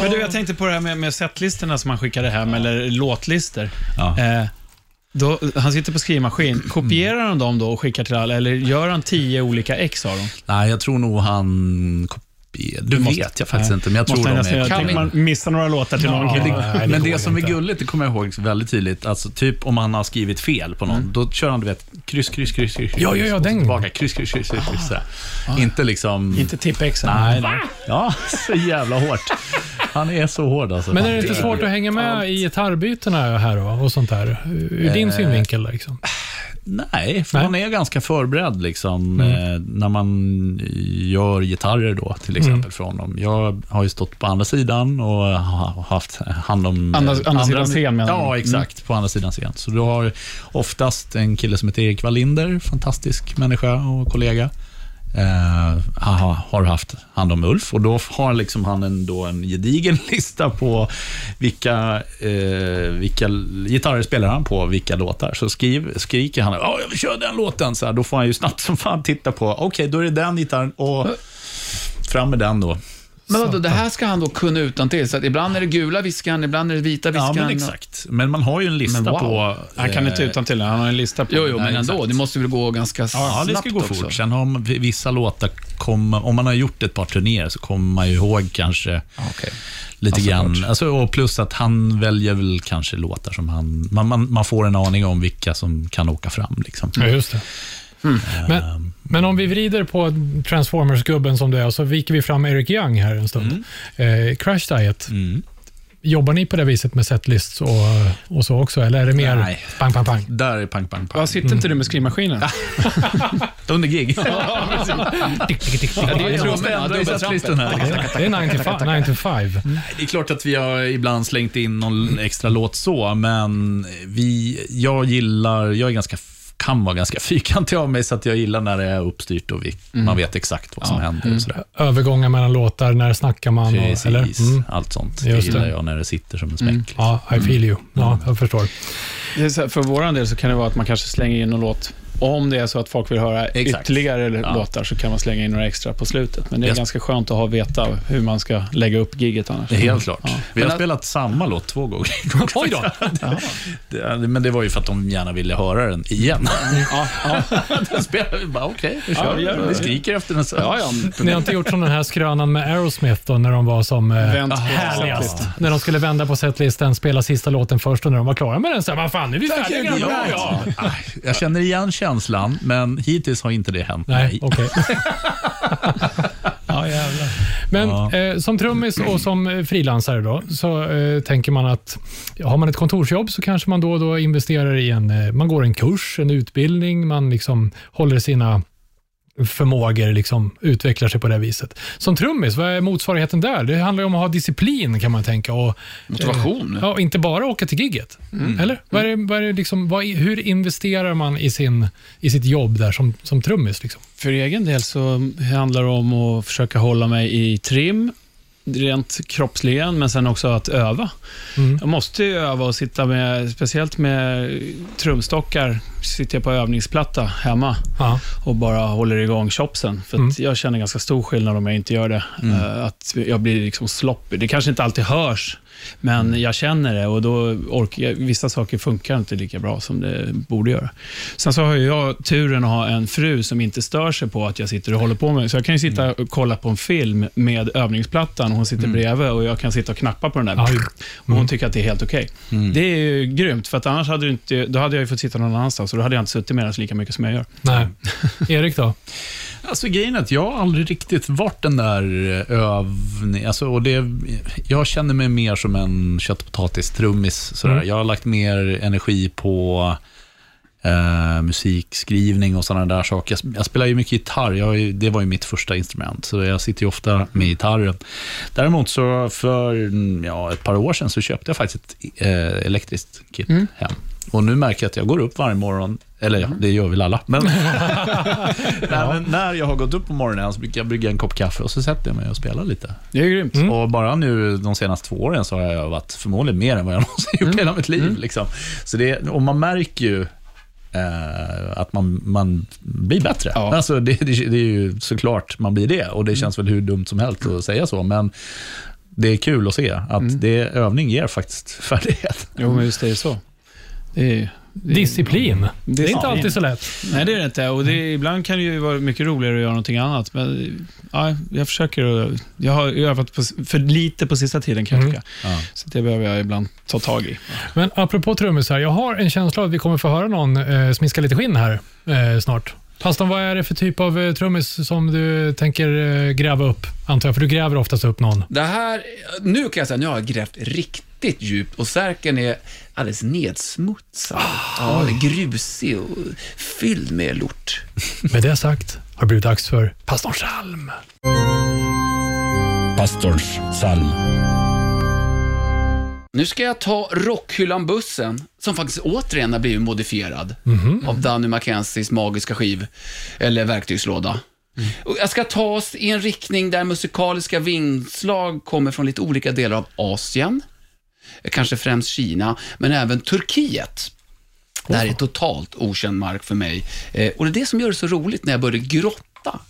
[SPEAKER 4] Men du, jag tänkte på det här med, med setlistorna som han skickade hem, eller låtlistor.
[SPEAKER 5] Ja.
[SPEAKER 4] Eh, då, han sitter på skrivmaskin. Kopierar han dem då och skickar till alla, eller gör han tio olika ex av dem?
[SPEAKER 5] Nej, jag tror nog han... kopier- Du
[SPEAKER 4] måste-
[SPEAKER 5] vet jag faktiskt inte, men jag tror
[SPEAKER 4] Måste han
[SPEAKER 5] de
[SPEAKER 4] nästan
[SPEAKER 5] är...
[SPEAKER 4] göra. Tänk om man missar några låtar till någon
[SPEAKER 5] Men
[SPEAKER 4] kille.
[SPEAKER 5] det,
[SPEAKER 2] nej, det
[SPEAKER 5] men
[SPEAKER 2] går
[SPEAKER 5] det som
[SPEAKER 2] inte.
[SPEAKER 5] är gulligt, det kommer jag ihåg väldigt tydligt, alltså typ om han har skrivit fel på någon, då kör han du vet, kryss, kryss, kryss, kryss.
[SPEAKER 2] Mm. Ja, ja, ja,
[SPEAKER 5] kryss, och så
[SPEAKER 2] den. Ah.
[SPEAKER 5] Tillbaka, kryss, kryss, kryss, kryss, kryss sådär. Inte liksom...
[SPEAKER 4] Inte tippexen.
[SPEAKER 5] Nej, nej. Ja, så jävla hårt. Han är så hård alltså.
[SPEAKER 2] Men är det inte svårt att hänga med i gitarrbytena här då, och sånt där? Ur din synvinkel liksom?
[SPEAKER 5] Nej, för
[SPEAKER 2] Nej.
[SPEAKER 5] man är ganska förberedd liksom,
[SPEAKER 4] Mm.
[SPEAKER 5] eh, när man gör gitarrer då, till exempel för honom. Jag har ju stått på andra sidan och har haft hand om...
[SPEAKER 4] Andra- andra sidan scen, menar du? Mm.
[SPEAKER 5] Ja, exakt. På andra sidan scen. Så du har oftast en kille som heter Erik Wallinder, fantastisk människa och kollega. Eh, aha, har haft hand om Ulf och då har liksom han en, då en gedigen lista på vilka, eh, vilka gitarrer spelar han på, vilka låtar. Så skriv, skriker han "Ja, jag vill köra den låten, så här, då får han ju snabbt som fan titta på, okej då är det den gitarren och fram med den då.
[SPEAKER 3] Men vadå, det här ska han då kunna utan till så att ibland är det gula viskan, ibland är det vita
[SPEAKER 5] Ja,
[SPEAKER 3] viskan.
[SPEAKER 5] men exakt. Men man har ju en lista
[SPEAKER 3] Men wow.
[SPEAKER 5] på...
[SPEAKER 4] Han kan inte
[SPEAKER 5] eh,
[SPEAKER 4] utan till Han har en lista på
[SPEAKER 3] Jo, jo, men
[SPEAKER 5] Nej,
[SPEAKER 3] ändå.
[SPEAKER 5] exakt.
[SPEAKER 3] Det måste väl gå ganska
[SPEAKER 5] Ja,
[SPEAKER 3] snabbt
[SPEAKER 5] det ska gå fort.
[SPEAKER 3] också.
[SPEAKER 5] Sen har man, vissa låtar, kommer, om man har gjort ett par turnéer så kommer man ju ihåg kanske
[SPEAKER 3] Okej.
[SPEAKER 5] lite
[SPEAKER 3] Ja, såklart.
[SPEAKER 5] grann. Alltså, och plus att han väljer väl kanske låtar som han... Man, man, man får en aning om vilka som kan åka fram. Liksom.
[SPEAKER 2] Ja, just det. Men, men om vi vrider på Transformers-gubben som du är, och så viker vi fram Eric Young här en stund. Eh, Crash Diet,
[SPEAKER 5] Mm.
[SPEAKER 2] jobbar ni på det viset med setlists och, och så också, eller är det mer
[SPEAKER 5] Nej.
[SPEAKER 2] pang, pang, pang?
[SPEAKER 5] Där är pang, pang, pang.
[SPEAKER 4] Ja, sitter inte du med skrivmaskinen?
[SPEAKER 5] Under gig.
[SPEAKER 2] Tick, tick, tick, tick.
[SPEAKER 3] Ja, det är
[SPEAKER 5] Jag
[SPEAKER 3] trummorna,
[SPEAKER 5] måste ändra i
[SPEAKER 3] dubbeltrampet.
[SPEAKER 5] setlistan här.
[SPEAKER 2] Det är 9 to 5. nine to five.
[SPEAKER 5] Det är klart att vi har ibland slängt in någon extra låt så, men vi, jag gillar, jag är ganska, kan vara ganska fyrkantig av mig, så att jag gillar när det är uppstyrt och vi,
[SPEAKER 3] Mm.
[SPEAKER 5] man vet exakt vad som händer och sådär.
[SPEAKER 2] Övergångar mellan låtar, när snackar man?
[SPEAKER 5] Precis,
[SPEAKER 2] Och, eller? Mm.
[SPEAKER 5] allt sånt. Det
[SPEAKER 2] Just
[SPEAKER 5] gillar
[SPEAKER 2] det.
[SPEAKER 5] jag när det sitter som en smäck. liksom.
[SPEAKER 2] Ja, I feel you. Ja, jag förstår.
[SPEAKER 4] Det är så här, för vår del så kan det vara att man kanske slänger in någon låt. Om det är så att folk vill höra
[SPEAKER 5] Exakt.
[SPEAKER 4] ytterligare
[SPEAKER 5] Ja.
[SPEAKER 4] låtar så kan man slänga in några extra på slutet. Men det är
[SPEAKER 5] Yes.
[SPEAKER 4] ganska skönt att ha veta hur man ska lägga upp gigget annars.
[SPEAKER 5] Det är Helt klart. Vi har
[SPEAKER 3] Men att-
[SPEAKER 5] spelat samma låt två gånger. Oj då! det, men det var ju för att de gärna ville höra den igen.
[SPEAKER 4] Ja, ja.
[SPEAKER 5] Då spelade vi bara, okej, vi
[SPEAKER 4] Ja,
[SPEAKER 5] kör.
[SPEAKER 4] vi gör det.
[SPEAKER 5] vi skriker efter den. Så.
[SPEAKER 4] Ja, ja.
[SPEAKER 2] Ni har inte gjort som den här skrönan med Aerosmith då, när de var som eh,
[SPEAKER 4] Vänt på
[SPEAKER 2] härligast.
[SPEAKER 4] setlisten.
[SPEAKER 2] När de skulle vända på setlisten, spela sista låten först och när de var klara med den så här, vad fan, nu är vi färdiga.
[SPEAKER 5] Ja, ja. Jag känner igen känslan, men hittills har inte det hänt
[SPEAKER 2] Nej,
[SPEAKER 5] mig.
[SPEAKER 2] okej.
[SPEAKER 4] Ja, jävlar.
[SPEAKER 2] Men
[SPEAKER 5] Ja.
[SPEAKER 2] eh, som trummis och som eh, frilansare då, så eh, tänker man att har man ett kontorsjobb så kanske man då och då investerar i en, eh, man går en kurs, en utbildning, man liksom håller sina förmågor, liksom utvecklar sig på det viset. Som trummis, vad är motsvarigheten där? Det handlar ju om att ha disciplin kan man tänka och,
[SPEAKER 3] Motivation.
[SPEAKER 2] ja, och inte bara åka till gigget. Eller? Vad är, det- vad är det liksom, vad, är- hur investerar man i, sin, i sitt jobb där som, som trummis? Liksom?
[SPEAKER 4] För egen del så handlar det om att försöka hålla mig i trim, rent kroppsligen, men sen också att öva.
[SPEAKER 2] Mm.
[SPEAKER 4] Jag måste ju öva och sitta med, speciellt med trumstockar, sitter jag på övningsplatta hemma
[SPEAKER 2] Ja.
[SPEAKER 4] och bara håller igång chopsen. För att
[SPEAKER 2] Mm.
[SPEAKER 4] jag känner ganska stor skillnad om jag inte gör det. Eh, att jag blir liksom sloppy. Det kanske inte alltid hörs,
[SPEAKER 2] Mm.
[SPEAKER 4] men jag känner det och då orkar jag, vissa saker funkar inte lika bra som det borde göra. Sen så har ju jag turen att ha en fru som inte stör sig på att jag sitter och håller på med Så jag kan ju sitta
[SPEAKER 2] Mm.
[SPEAKER 4] och kolla på en film med övningsplattan och hon sitter bredvid och jag kan sitta och knappa på den där.
[SPEAKER 2] Ja, Mm. ju.
[SPEAKER 4] Och hon tycker att det är helt okej. Det är ju grymt, för att annars hade, du inte, då hade jag ju fått sitta någon annanstans och då hade jag inte suttit med den lika mycket som jag gör.
[SPEAKER 2] Nej. Erik då?
[SPEAKER 5] Alltså grejen är att jag har aldrig riktigt varit den där övningen. Alltså, och det, jag känner mig mer som en kött och potatis-trummis. sådär.
[SPEAKER 2] Mm.
[SPEAKER 5] Jag har lagt mer energi på eh, musikskrivning och sådana där saker. Jag, sp- jag spelar ju mycket gitarr. Jag, har ju- det var ju mitt första instrument, så jag sitter ju ofta med gitarren. Däremot så för mm, ja, ett par år sedan så köpte jag faktiskt ett eh, elektriskt kit hem. Och nu märker jag att jag går upp varje morgon, eller ja, det gör väl alla, men Nej, men när jag har gått upp på morgonen så brukar jag brygga en kopp kaffe och så sätter jag mig och spelar lite.
[SPEAKER 4] Det är grymt.
[SPEAKER 5] Och bara nu de senaste två åren så har jag övat förmodligen mer än vad jag någonsin gjort i hela mitt liv. Liksom. Så det, och man märker ju eh, att man, man blir bättre.
[SPEAKER 3] Ja.
[SPEAKER 5] Alltså det, det, det är ju såklart man blir det och det känns väl hur dumt som helst att säga så, men det är kul att se att det, övning ger faktiskt färdighet.
[SPEAKER 4] Jo, men visst är det så. Det är,
[SPEAKER 2] Disciplin. Det är inte
[SPEAKER 4] Disciplin.
[SPEAKER 2] alltid så lätt.
[SPEAKER 4] nej, det är det inte. Och det, är- ibland kan det ju vara mycket roligare att göra någonting annat. Men ja, jag försöker att... Jag har övat på, för lite på sista tiden, kan jag
[SPEAKER 2] Mm.
[SPEAKER 4] tycka. Så det behöver jag ibland ta tag i.
[SPEAKER 2] Men apropå trummisar, jag har en känsla av att vi kommer få höra någon eh, smiska lite skinn här eh, snart. Pastorn, vad är det för typ av eh, trummis som du tänker eh, gräva upp? Antar jag, för du gräver oftast upp någon.
[SPEAKER 3] Det här, nu kan jag säga, nu har jag grävt riktigt djupt och särken är alldeles nedsmutsad. ja, den är grusig och fylld med lort.
[SPEAKER 2] Med det sagt har det blivit dags för Pastorns psalm.
[SPEAKER 1] Pastorns psalm.
[SPEAKER 3] Nu ska jag ta Rockhyllan-bussen, som faktiskt återigen har blivit modifierad
[SPEAKER 4] Mhm.
[SPEAKER 3] av Danny Mackenzies magiska skiv, eller verktygslåda. Och Jag ska ta oss i en riktning där musikaliska vingslag kommer från lite olika delar av Asien, kanske främst Kina, men även Turkiet. Det här är totalt okänd mark för mig. Eh, Och det är det som gör det så roligt när jag börjar grotta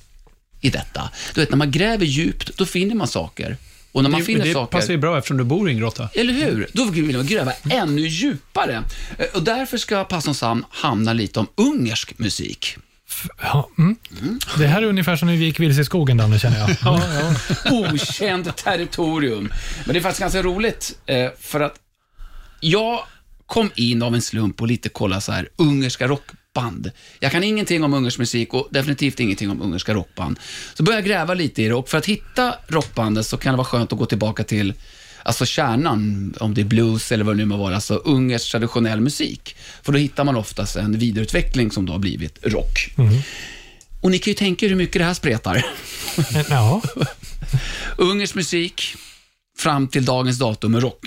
[SPEAKER 3] i detta. Du vet, när man gräver djupt, då finner man saker. Och när man finner
[SPEAKER 4] det
[SPEAKER 3] saker...
[SPEAKER 4] passar ju bra eftersom du bor i en grotta.
[SPEAKER 3] Eller hur? Då vill man gräva ännu djupare. Eh, Och därför ska Passon Sam hamna lite om ungersk musik.
[SPEAKER 2] Ja, mm. Det här är ungefär som när vi gick vilse i skogen, Danne, känner jag.
[SPEAKER 3] Okänt territorium. Men det är faktiskt ganska roligt, eh, för att jag kom in av en slump och lite kolla så här ungerska rockband. Jag kan ingenting om ungersk musik och definitivt ingenting om ungerska rockband. Så började jag gräva lite i det och för att hitta rockbandet så kan det vara skönt att gå tillbaka till Alltså kärnan, om det är blues eller vad det nu må vara, alltså ungersk traditionell musik. För då hittar man oftast en vidareutveckling som då har blivit rock. Och ni kan ju tänka er hur mycket det här spretar.
[SPEAKER 2] Men, Ja,
[SPEAKER 3] Ungers musik fram till dagens datum med rock.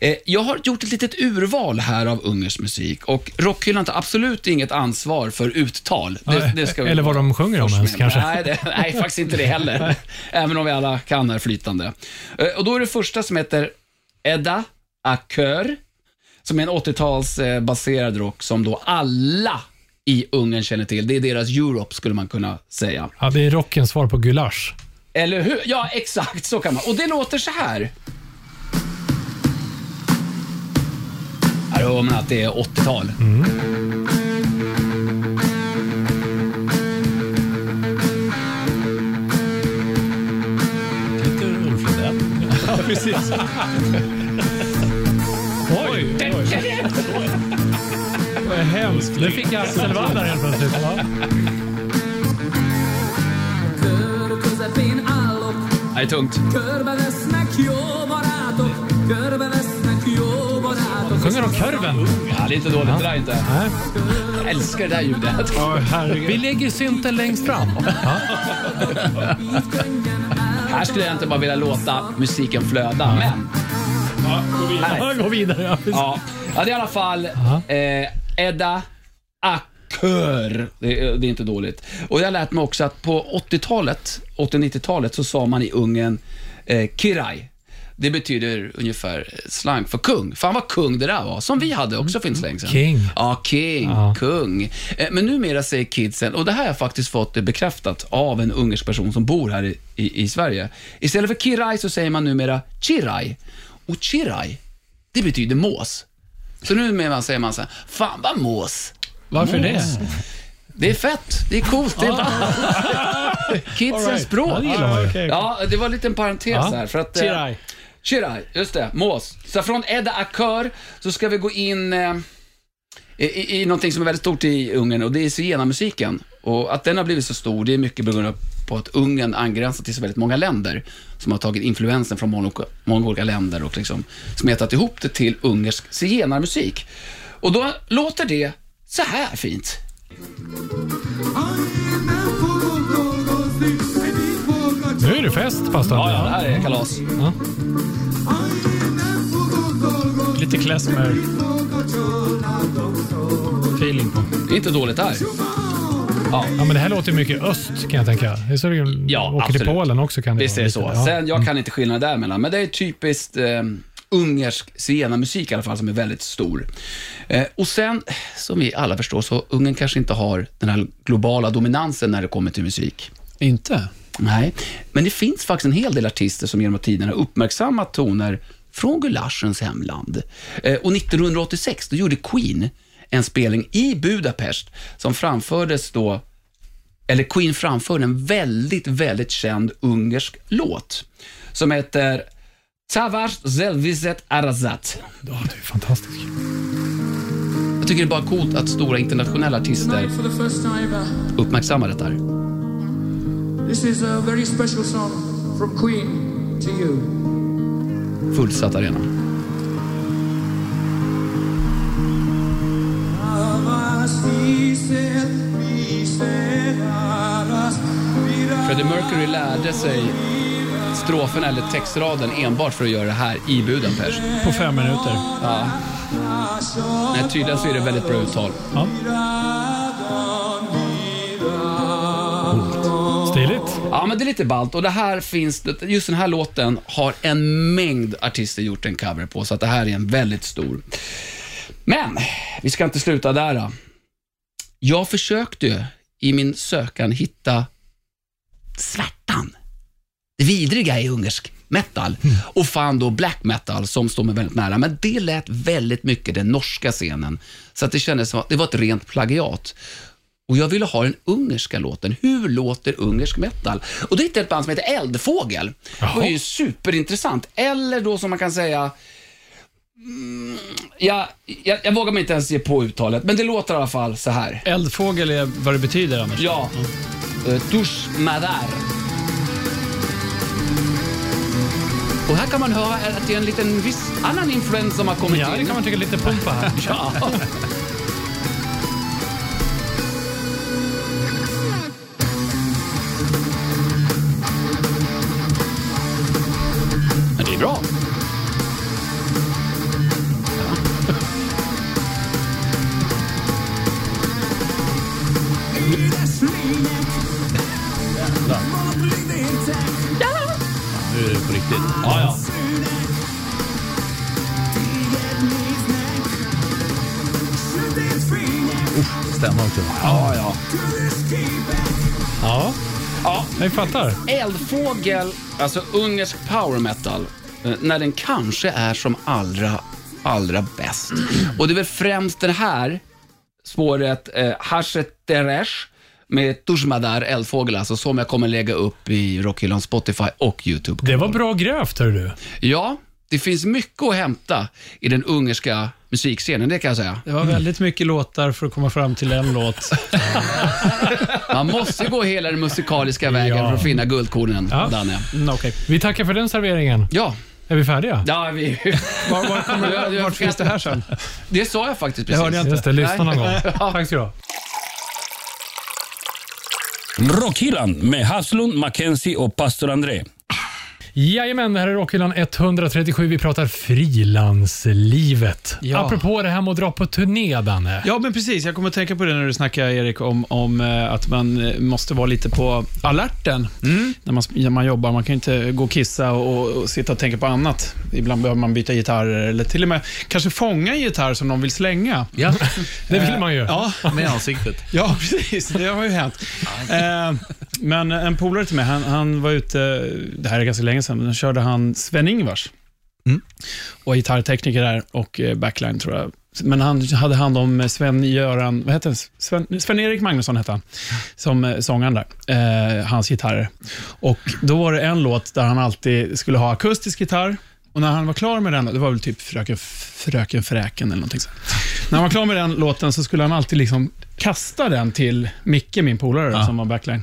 [SPEAKER 3] Eh, Jag har gjort ett litet urval här av Ungers musik och Rockhyllan tar absolut inget ansvar för uttal. Det,
[SPEAKER 2] Nej,
[SPEAKER 3] det ska vi
[SPEAKER 2] eller vad de sjunger om
[SPEAKER 3] först
[SPEAKER 2] ens,
[SPEAKER 3] med.
[SPEAKER 2] kanske.
[SPEAKER 3] Nej, det, nej, faktiskt inte det heller. Även om vi alla kan här flytande. Eh, Och då är det första som heter Edda Akör, som är en 80-talsbaserad rock som då alla i Ungern känner till. Det är deras Europe, skulle man kunna säga.
[SPEAKER 2] ja det är rockens svar på gulasch.
[SPEAKER 3] Eller hur? Ja, exakt så kan man. Och det låter så här. Här hör man att det är 80-tal.
[SPEAKER 4] Ja, precis. oj, oj. Vad hemskt.
[SPEAKER 2] Nu fick jag Axel Wall där helt plötsligt.
[SPEAKER 6] Kör közepén állok,
[SPEAKER 3] Det är tungt.
[SPEAKER 6] körbe lesznek jó barátok, körbe lesznek jó barátok.
[SPEAKER 2] Sjunger de kurven?
[SPEAKER 3] Ja, det är inte dåligt det där inte.
[SPEAKER 2] Nej.
[SPEAKER 3] Jag älskar det där ljudet.
[SPEAKER 2] Vi lägger synten längst fram. Ja.
[SPEAKER 3] Här skulle jag inte bara vilja låta musiken flöda, men... Här.
[SPEAKER 2] Gå vidare. Ja. precis.
[SPEAKER 3] Ja. ja, det är i alla fall eh, Edda Akör. Det, är- det är inte dåligt. Och jag har lärt mig också att på 80-talet, 80-90-talet, så sa man i Ungern eh, Kiraj. Det betyder ungefär slang för kung. Fan vad kung det där var, som vi hade också för inte så länge sedan.
[SPEAKER 2] King.
[SPEAKER 3] Ja, king,
[SPEAKER 2] Ja.
[SPEAKER 3] kung. Eh, Men numera säger kidsen, och det här har jag faktiskt fått det bekräftat av en ungersk person som bor här i, i, i Sverige. Istället för kiraj så säger man numera chiraj. Och chiraj, det betyder mås. Så numera säger man så här, fan vad mås.
[SPEAKER 4] Varför det?
[SPEAKER 3] Det är fett, det är coolt. Det är Kidsens språk.
[SPEAKER 2] Ja, det gillar man ju.
[SPEAKER 3] Ja, det var en liten parentes
[SPEAKER 2] Ja.
[SPEAKER 3] här. För att, eh,
[SPEAKER 4] Chiraj.
[SPEAKER 3] Chiraj, just det. Mås. Så från Edda Akör så ska vi gå in eh, i, i, i någonting som är väldigt stort i Ungern och det är zigenarmusiken. Och att den har blivit så stor, det är mycket beroende på att Ungern angränsar till så väldigt många länder som har tagit influensen från många, många olika länder och liksom smetat ihop det till ungersk zigenarmusik. Och då låter det så här fint.
[SPEAKER 2] Nu är det fest, pastorn.
[SPEAKER 3] Ja, ja, det här är kalas.
[SPEAKER 4] Lite klezmer-feeling på.
[SPEAKER 3] Det är inte dåligt där.
[SPEAKER 2] Ja, men det här låter mycket öst kan jag tänka. Det är så det
[SPEAKER 3] Ja,
[SPEAKER 2] åker till
[SPEAKER 3] absolut.
[SPEAKER 2] Polen också. Kan det
[SPEAKER 3] Visst är
[SPEAKER 2] vara
[SPEAKER 3] det
[SPEAKER 2] lite.
[SPEAKER 3] så.
[SPEAKER 2] Ja. Mm.
[SPEAKER 3] Sen, jag kan inte skillnaden där mellan, men det är typiskt eh, ungersk zigenarmusik i alla fall som är väldigt stor. Eh, och sen, som vi alla förstår, så Ungern kanske inte har den här globala dominansen när det kommer till musik.
[SPEAKER 4] Inte?
[SPEAKER 3] Nej, men det finns faktiskt en hel del artister som genom tiderna har uppmärksammat toner från gulaschens hemland. Eh, Och 1986 då gjorde Queen en spelning i Budapest som framfördes då, eller Queen framförde en väldigt, väldigt känd ungersk låt som heter Tavars Zelviset Arazat.
[SPEAKER 2] Ja, det är fantastiskt.
[SPEAKER 3] Jag tycker det är bara coolt att stora internationella artister
[SPEAKER 6] Tonight for the first time, uh,
[SPEAKER 3] uppmärksammar detta. här.
[SPEAKER 6] this is a very special song from Queen to you.
[SPEAKER 3] Fullsatt arena. Freddie Mercury lärde sig strofen eller textraden enbart för att göra det här i Budapest.
[SPEAKER 4] På fem minuter.
[SPEAKER 3] Nej, tydligen så är det väldigt bra uttal.
[SPEAKER 2] Stiligt.
[SPEAKER 3] Ja, men det är lite ballt och det här finns, det- just den här låten har en mängd artister gjort en cover på, så att det här är en väldigt stor. Men, vi ska inte sluta där. Då. Jag försökte ju i min sökan hitta svärtan, det vidriga i ungersk metal och fann då black metal som står mig väldigt nära. Men det lät väldigt mycket den norska scenen, så att det kändes som att det var ett rent plagiat. Och jag ville ha den ungerska låten. Hur låter ungersk metal? Och då hittade jag ett band som heter Eldfågel. Det var ju superintressant. Eller då som man kan säga, mm, jag, jag, jag vågar mig inte ens ge på uttalet, men det låter i alla fall så här.
[SPEAKER 4] Eldfågel är vad det betyder annars.
[SPEAKER 3] Ja, eh, Dush Madar. Och här kan man höra att det är en liten viss annan influens som har kommit
[SPEAKER 2] Ja, det
[SPEAKER 3] in.
[SPEAKER 2] kan man tycka lite pumpa här.
[SPEAKER 3] Ja. Men det är bra.
[SPEAKER 5] Nu är det på riktigt. Stämmer också.
[SPEAKER 3] Ja, ja.
[SPEAKER 2] Ja,
[SPEAKER 3] Ja.
[SPEAKER 2] jag fattar.
[SPEAKER 3] Eldfågel, alltså ungersk power metal, eh, när den kanske är som allra, allra bäst. Och det är väl främst det här spåret, eh, Hashet Teresh, med Tushmadar, Eldfågel, alltså, som jag kommer lägga upp i Rockhyllan Spotify och YouTube.
[SPEAKER 2] Det var bra grävt, hör du.
[SPEAKER 3] Ja, det finns mycket att hämta i den ungerska musikscenen, det kan jag säga.
[SPEAKER 4] Det var väldigt mycket låtar för att komma fram till en låt.
[SPEAKER 3] Man måste ju gå hela den musikaliska vägen
[SPEAKER 2] Ja.
[SPEAKER 3] för att finna guldkornen,
[SPEAKER 2] Ja.
[SPEAKER 3] Danne.
[SPEAKER 4] Mm, okej.
[SPEAKER 2] Vi tackar för den serveringen.
[SPEAKER 3] Ja,
[SPEAKER 2] Är vi färdiga?
[SPEAKER 3] ja vi,
[SPEAKER 4] Var, var kommer
[SPEAKER 3] Jag- jag-
[SPEAKER 4] vart finns det här sen?
[SPEAKER 3] det sa jag faktiskt
[SPEAKER 4] Det
[SPEAKER 3] precis.
[SPEAKER 4] hörde jag inte.
[SPEAKER 2] Just det, lyssna någon gång.
[SPEAKER 3] Nej. Ja.
[SPEAKER 2] Tack ska du ha.
[SPEAKER 1] Rockhyllan med Haslund, Mackenzie och pastor André.
[SPEAKER 2] Jajamän, det här är Rockhyllan 137. Vi pratar frilanslivet.
[SPEAKER 4] Ja.
[SPEAKER 2] Apropå det här med att dra på turné, Danne.
[SPEAKER 4] Ja, men precis. Jag kommer att tänka på det när du snackade, Erik, om, om eh, att man eh, måste vara lite på alerten när, man, när man jobbar. Man kan ju inte gå och kissa och, och sitta och tänka på annat. Ibland behöver man byta gitarrer eller till och med kanske fånga en gitarr som någon vill slänga.
[SPEAKER 5] Ja,
[SPEAKER 2] Det vill man ju.
[SPEAKER 4] Ja,
[SPEAKER 5] med ansiktet.
[SPEAKER 4] Ja, precis. Det har ju hänt. Eh, men en polare till mig, han, han var ute, det här är ganska länge sedan, men då körde han Sven-Ingvars.
[SPEAKER 5] Mm.
[SPEAKER 4] Och gitarrtekniker där och eh, backline tror jag. Men han hade hand om Sven-Göran, vad hette han? Sven- Sven-Erik Magnusson hette han, som eh, sångaren där. Eh, hans gitarrer. Och då var det en låt där han alltid skulle ha akustisk gitarr. Och när han var klar med den, det var väl typ Fröken, fröken Fräken eller någonting så. När han var klar med den låten så skulle han alltid liksom kasta den till Micke, min polare, då, som var backline.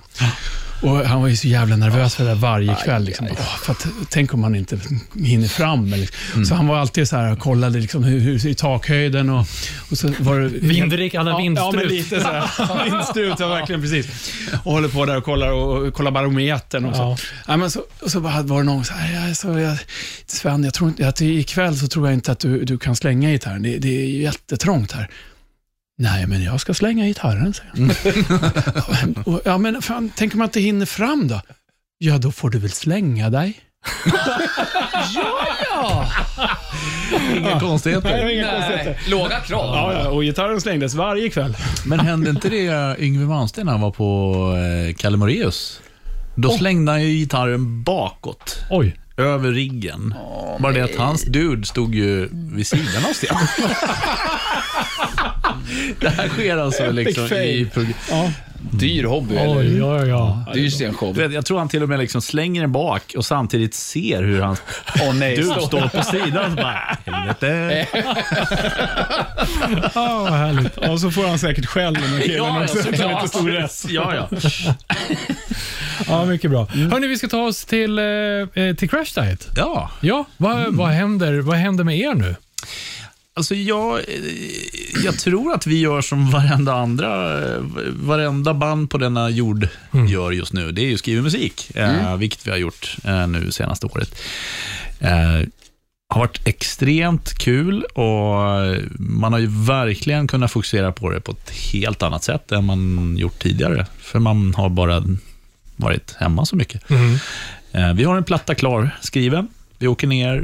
[SPEAKER 4] Och han var ju så jävla nervös för det där varje kväll. Liksom. Åh, för att, tänk om han inte hinner fram. Eller, liksom. Så han var alltid så här och kollade liksom, hur, hur, i takhöjden och, och så var det...
[SPEAKER 2] Vindrik alla
[SPEAKER 4] Ja,
[SPEAKER 2] vindstrut.
[SPEAKER 4] men lite så här. Vindstrut, ja, verkligen precis. Och håller på där och kollar, och, och kollar barometern också.
[SPEAKER 2] Ja.
[SPEAKER 4] Ja. men så, och så bara var det någon så här, jag, så jag, Sven, jag tror inte, att ikväll så tror jag inte att du, du kan slänga gitarren. Det, det är ju jättetrångt här. Nej, men jag ska slänga gitarren, säger han. Och- och, ja, men fan, tänk om man inte hinner fram då? Ja, då får du väl slänga dig.
[SPEAKER 5] Inga konstigheter.
[SPEAKER 3] Nej, låga krav.
[SPEAKER 4] Ja, ja, och gitarren slängdes varje kväll.
[SPEAKER 5] Men hände inte det Yngwie Malmsteen när han var på eh, Kalle Moraeus? Då slängde han ju gitarren bakåt,
[SPEAKER 2] Oj.
[SPEAKER 5] över riggen. Bara det att hans dude stod ju vid sidan av scenen. det här sker alltså liksom i
[SPEAKER 4] fail.
[SPEAKER 5] program.
[SPEAKER 3] Dyr hobby, eller?
[SPEAKER 2] Oj, ja, ja.
[SPEAKER 3] Dyr scenshow.
[SPEAKER 5] Du vet, Jag tror han till och med liksom slänger den bak och samtidigt ser hur hans
[SPEAKER 3] Åh nej,
[SPEAKER 5] dude
[SPEAKER 3] stopp.
[SPEAKER 5] står på sidan och bara helvete.
[SPEAKER 2] Ja, Ah, vad härligt.
[SPEAKER 4] Och så får han säkert skäll med killen också. som inte stod rätt.
[SPEAKER 5] ja, ja.
[SPEAKER 2] Ja, mycket bra. Hörni, vi ska ta oss till, eh, eh, till Crash Diet.
[SPEAKER 5] ja.
[SPEAKER 2] Ja, vad, vad, händer, vad händer med er nu?
[SPEAKER 5] Alltså jag, eh, jag tror att vi gör som varenda andra eh, varenda band på denna jord gör just nu. Det är ju skriver musik, eh, vilket vi har gjort eh, nu senaste året. Eh, har varit extremt kul och eh, man har ju verkligen kunnat fokusera på det på ett helt annat sätt än man gjort tidigare. För man har bara varit hemma så mycket. Eh, vi har en platta klar, skriven. Vi åker ner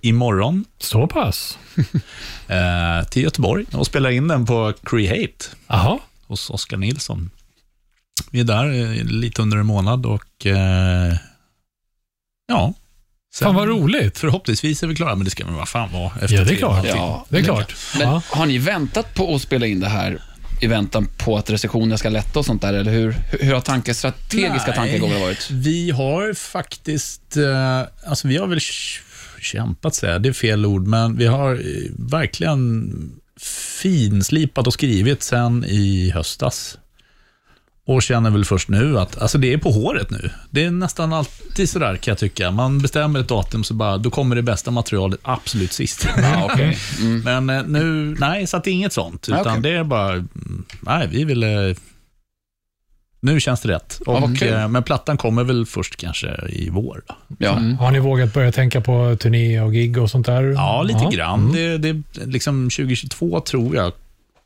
[SPEAKER 5] imorgon
[SPEAKER 2] Så pass?
[SPEAKER 5] eh, till Göteborg och spelar in den på Create
[SPEAKER 2] Jaha.
[SPEAKER 5] hos Oskar Nilsson. Vi är där eh, lite under en månad och eh, ja. Sen-
[SPEAKER 2] Fan vad roligt.
[SPEAKER 5] Förhoppningsvis är vi klara, men det ska man vad fan vara efter
[SPEAKER 2] Ja, det är
[SPEAKER 5] tre
[SPEAKER 2] klart.
[SPEAKER 5] månader.
[SPEAKER 3] Ja,
[SPEAKER 2] Det är klart.
[SPEAKER 3] Men
[SPEAKER 2] Ja.
[SPEAKER 3] har ni väntat på att spela in det här i väntan på att restriktionerna ska lätta och sånt där? Eller hur, hur- hur har tanken, strategiska
[SPEAKER 5] Nej.
[SPEAKER 3] tankegångar varit?
[SPEAKER 5] Vi har faktiskt, eh, alltså vi har väl ch- kämpat säger jag, det är fel ord, men vi har eh, verkligen finslipat och skrivit sen i höstas. Och känner väl först nu att, alltså det är på håret nu. Det är nästan alltid sådär kan jag tycka. Man bestämmer ett datum så bara, då kommer det bästa materialet absolut sist.
[SPEAKER 3] Ja,
[SPEAKER 2] Mm.
[SPEAKER 3] okej.
[SPEAKER 5] Men eh, nu, nej, så att det är inget sånt. Utan
[SPEAKER 3] Okej.
[SPEAKER 5] det är bara, mm, nej, vi ville... Nu känns det rätt.
[SPEAKER 3] Ja, vad
[SPEAKER 5] Och,
[SPEAKER 3] kul.
[SPEAKER 5] eh, men plattan kommer väl först kanske i vår. då.
[SPEAKER 3] Ja.
[SPEAKER 4] Mm.
[SPEAKER 2] Har ni vågat börja tänka på turné och gig och sånt där?
[SPEAKER 5] Ja, lite grann.
[SPEAKER 3] Mm.
[SPEAKER 5] Det, det är liksom 2022 tror jag,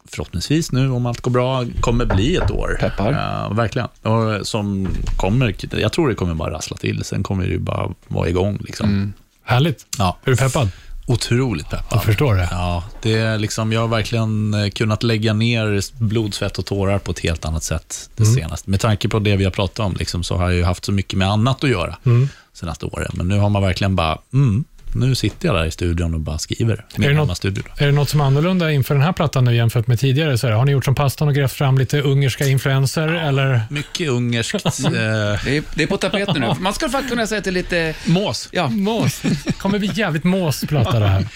[SPEAKER 5] förhoppningsvis nu om allt går bra, kommer bli ett år.
[SPEAKER 3] Peppar.
[SPEAKER 5] Ja, verkligen. Och eh, som kommer, jag tror det kommer bara rassla till. Sen kommer det ju bara vara igång. Liksom.
[SPEAKER 3] Mm.
[SPEAKER 2] Härligt.
[SPEAKER 5] Ja.
[SPEAKER 2] Är du peppad?
[SPEAKER 5] Otroligt peppad.
[SPEAKER 2] Jag förstår det.
[SPEAKER 5] Ja, det är liksom, jag har verkligen eh, kunnat lägga ner blod, svett och tårar på ett helt annat sätt
[SPEAKER 2] Mm.
[SPEAKER 5] det senaste. Med tanke på det vi har pratat om liksom, så har jag ju haft så mycket med annat att göra
[SPEAKER 2] Mm.
[SPEAKER 5] senaste åren. Men nu har man verkligen bara, mm, nu sitter jag där i studion och bara skriver.
[SPEAKER 2] Är
[SPEAKER 5] Min
[SPEAKER 2] det något-
[SPEAKER 5] gamla studio. Då.
[SPEAKER 2] Är det något som är annorlunda inför den här plattan nu jämfört med tidigare? Så här, har ni gjort som pastan och grävt fram lite ungerska influenser? Eller?
[SPEAKER 5] Mycket ungerskt. eh,
[SPEAKER 3] Det, är, det är på tapeten nu. Man skulle faktiskt kunna säga att det är lite...
[SPEAKER 4] Mås.
[SPEAKER 3] Ja,
[SPEAKER 2] Mås. kommer bli jävligt måsplatta det här.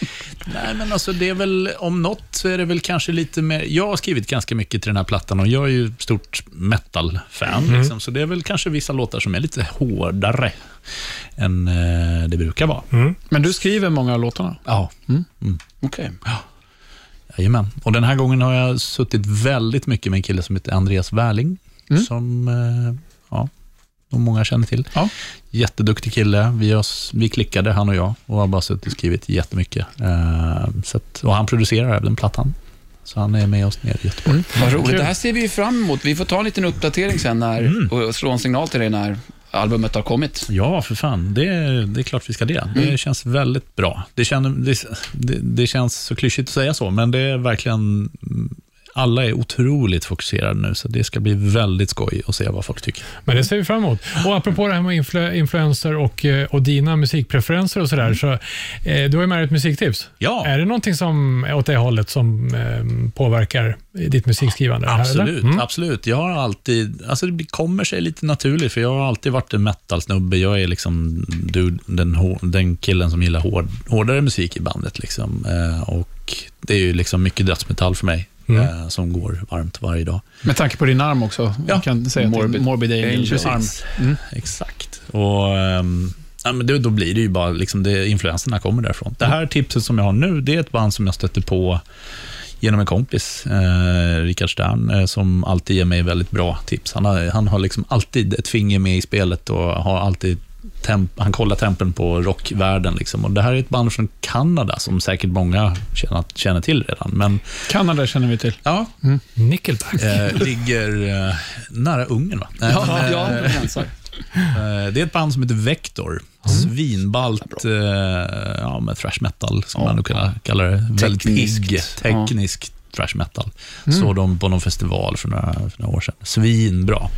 [SPEAKER 5] Nej, men alltså det är väl, om något så är det väl kanske lite mer, jag har skrivit ganska mycket till den här plattan och jag är ju stort metal-fan,
[SPEAKER 2] Mm.
[SPEAKER 5] liksom, så det är väl kanske vissa låtar som är lite hårdare än eh, det brukar vara.
[SPEAKER 4] Men du skriver många av låtarna?
[SPEAKER 5] Ja,
[SPEAKER 3] Okej.
[SPEAKER 5] jajamän. Och den här gången har jag suttit väldigt mycket med en kille som heter Andreas Wärling, som eh, ja, nog många känner till.
[SPEAKER 3] Ja.
[SPEAKER 5] Jätteduktig kille. Vi, har, vi klickade, han och jag, och har bara suttit och skrivit jättemycket. Eh, så att, och han producerar även plattan. Så han är med oss nere i Göteborg.
[SPEAKER 3] Vad roligt. Det här ser vi ju fram emot. Vi får ta en liten uppdatering sen när,
[SPEAKER 4] Mm.
[SPEAKER 3] och slå en signal till dig när albumet har kommit.
[SPEAKER 5] Ja, för fan. Det, det är klart vi ska det. Det känns väldigt bra. Det, känner, det, det, det känns så klyschigt att säga så, men det är verkligen... Alla är otroligt fokuserade nu, så det ska bli väldigt skoj att se vad folk tycker.
[SPEAKER 2] Men det ser vi fram emot. Och apropå det här med influ- influenser och, eh, och dina musikpreferenser och sådär, så, eh, du har ju med dig ett musiktips.
[SPEAKER 5] Ja.
[SPEAKER 2] Är det någonting som är åt det hållet som eh, påverkar ditt musikskrivande? här, eller? Mm.
[SPEAKER 5] Absolut, absolut. Jag har alltid, alltså det blir- kommer sig lite naturligt, för jag har alltid varit en metalsnubbe. Jag är liksom du, den, hår- den killen som gillar hård, hårdare musik i bandet. Liksom. Eh, och det är ju liksom mycket dödsmetall för mig, eh, som går varmt varje dag.
[SPEAKER 4] Med tanke på din arm också.
[SPEAKER 5] Ja.
[SPEAKER 4] Ja. Kan säga
[SPEAKER 3] Morbid-
[SPEAKER 4] morbid, morbid Angel.
[SPEAKER 3] Angels
[SPEAKER 4] Arm.
[SPEAKER 5] Precis. Mm, Exakt. Och, ehm, ja, men då, då blir det ju bara, liksom det, influenserna kommer därifrån. Det här tipset som jag har nu, det är ett band som jag stötte på genom en kompis, eh, Rickard Stern, eh, som alltid ger mig väldigt bra tips. Han har, han har liksom alltid ett finger med i spelet och har alltid Temp, han kollar tempen på rockvärlden. Liksom. Och det här är ett band från Kanada som säkert många känner, känner till redan. Men
[SPEAKER 4] Kanada känner vi till.
[SPEAKER 5] ja,
[SPEAKER 2] Nickelback.
[SPEAKER 5] eh, ligger eh, nära Ungern. Va? Nej, men,
[SPEAKER 3] Ja,
[SPEAKER 5] eh,
[SPEAKER 3] ja, det gränsar.
[SPEAKER 5] Eh, Det är ett band som heter Vector. Svinballt eh, ja, med thrash metal, som man nog kan kalla det. Väldigt
[SPEAKER 3] Tekniskt.
[SPEAKER 5] pigg, teknisk thrash metal. Såg dem på någon festival för några, för några år sedan. Svinbra.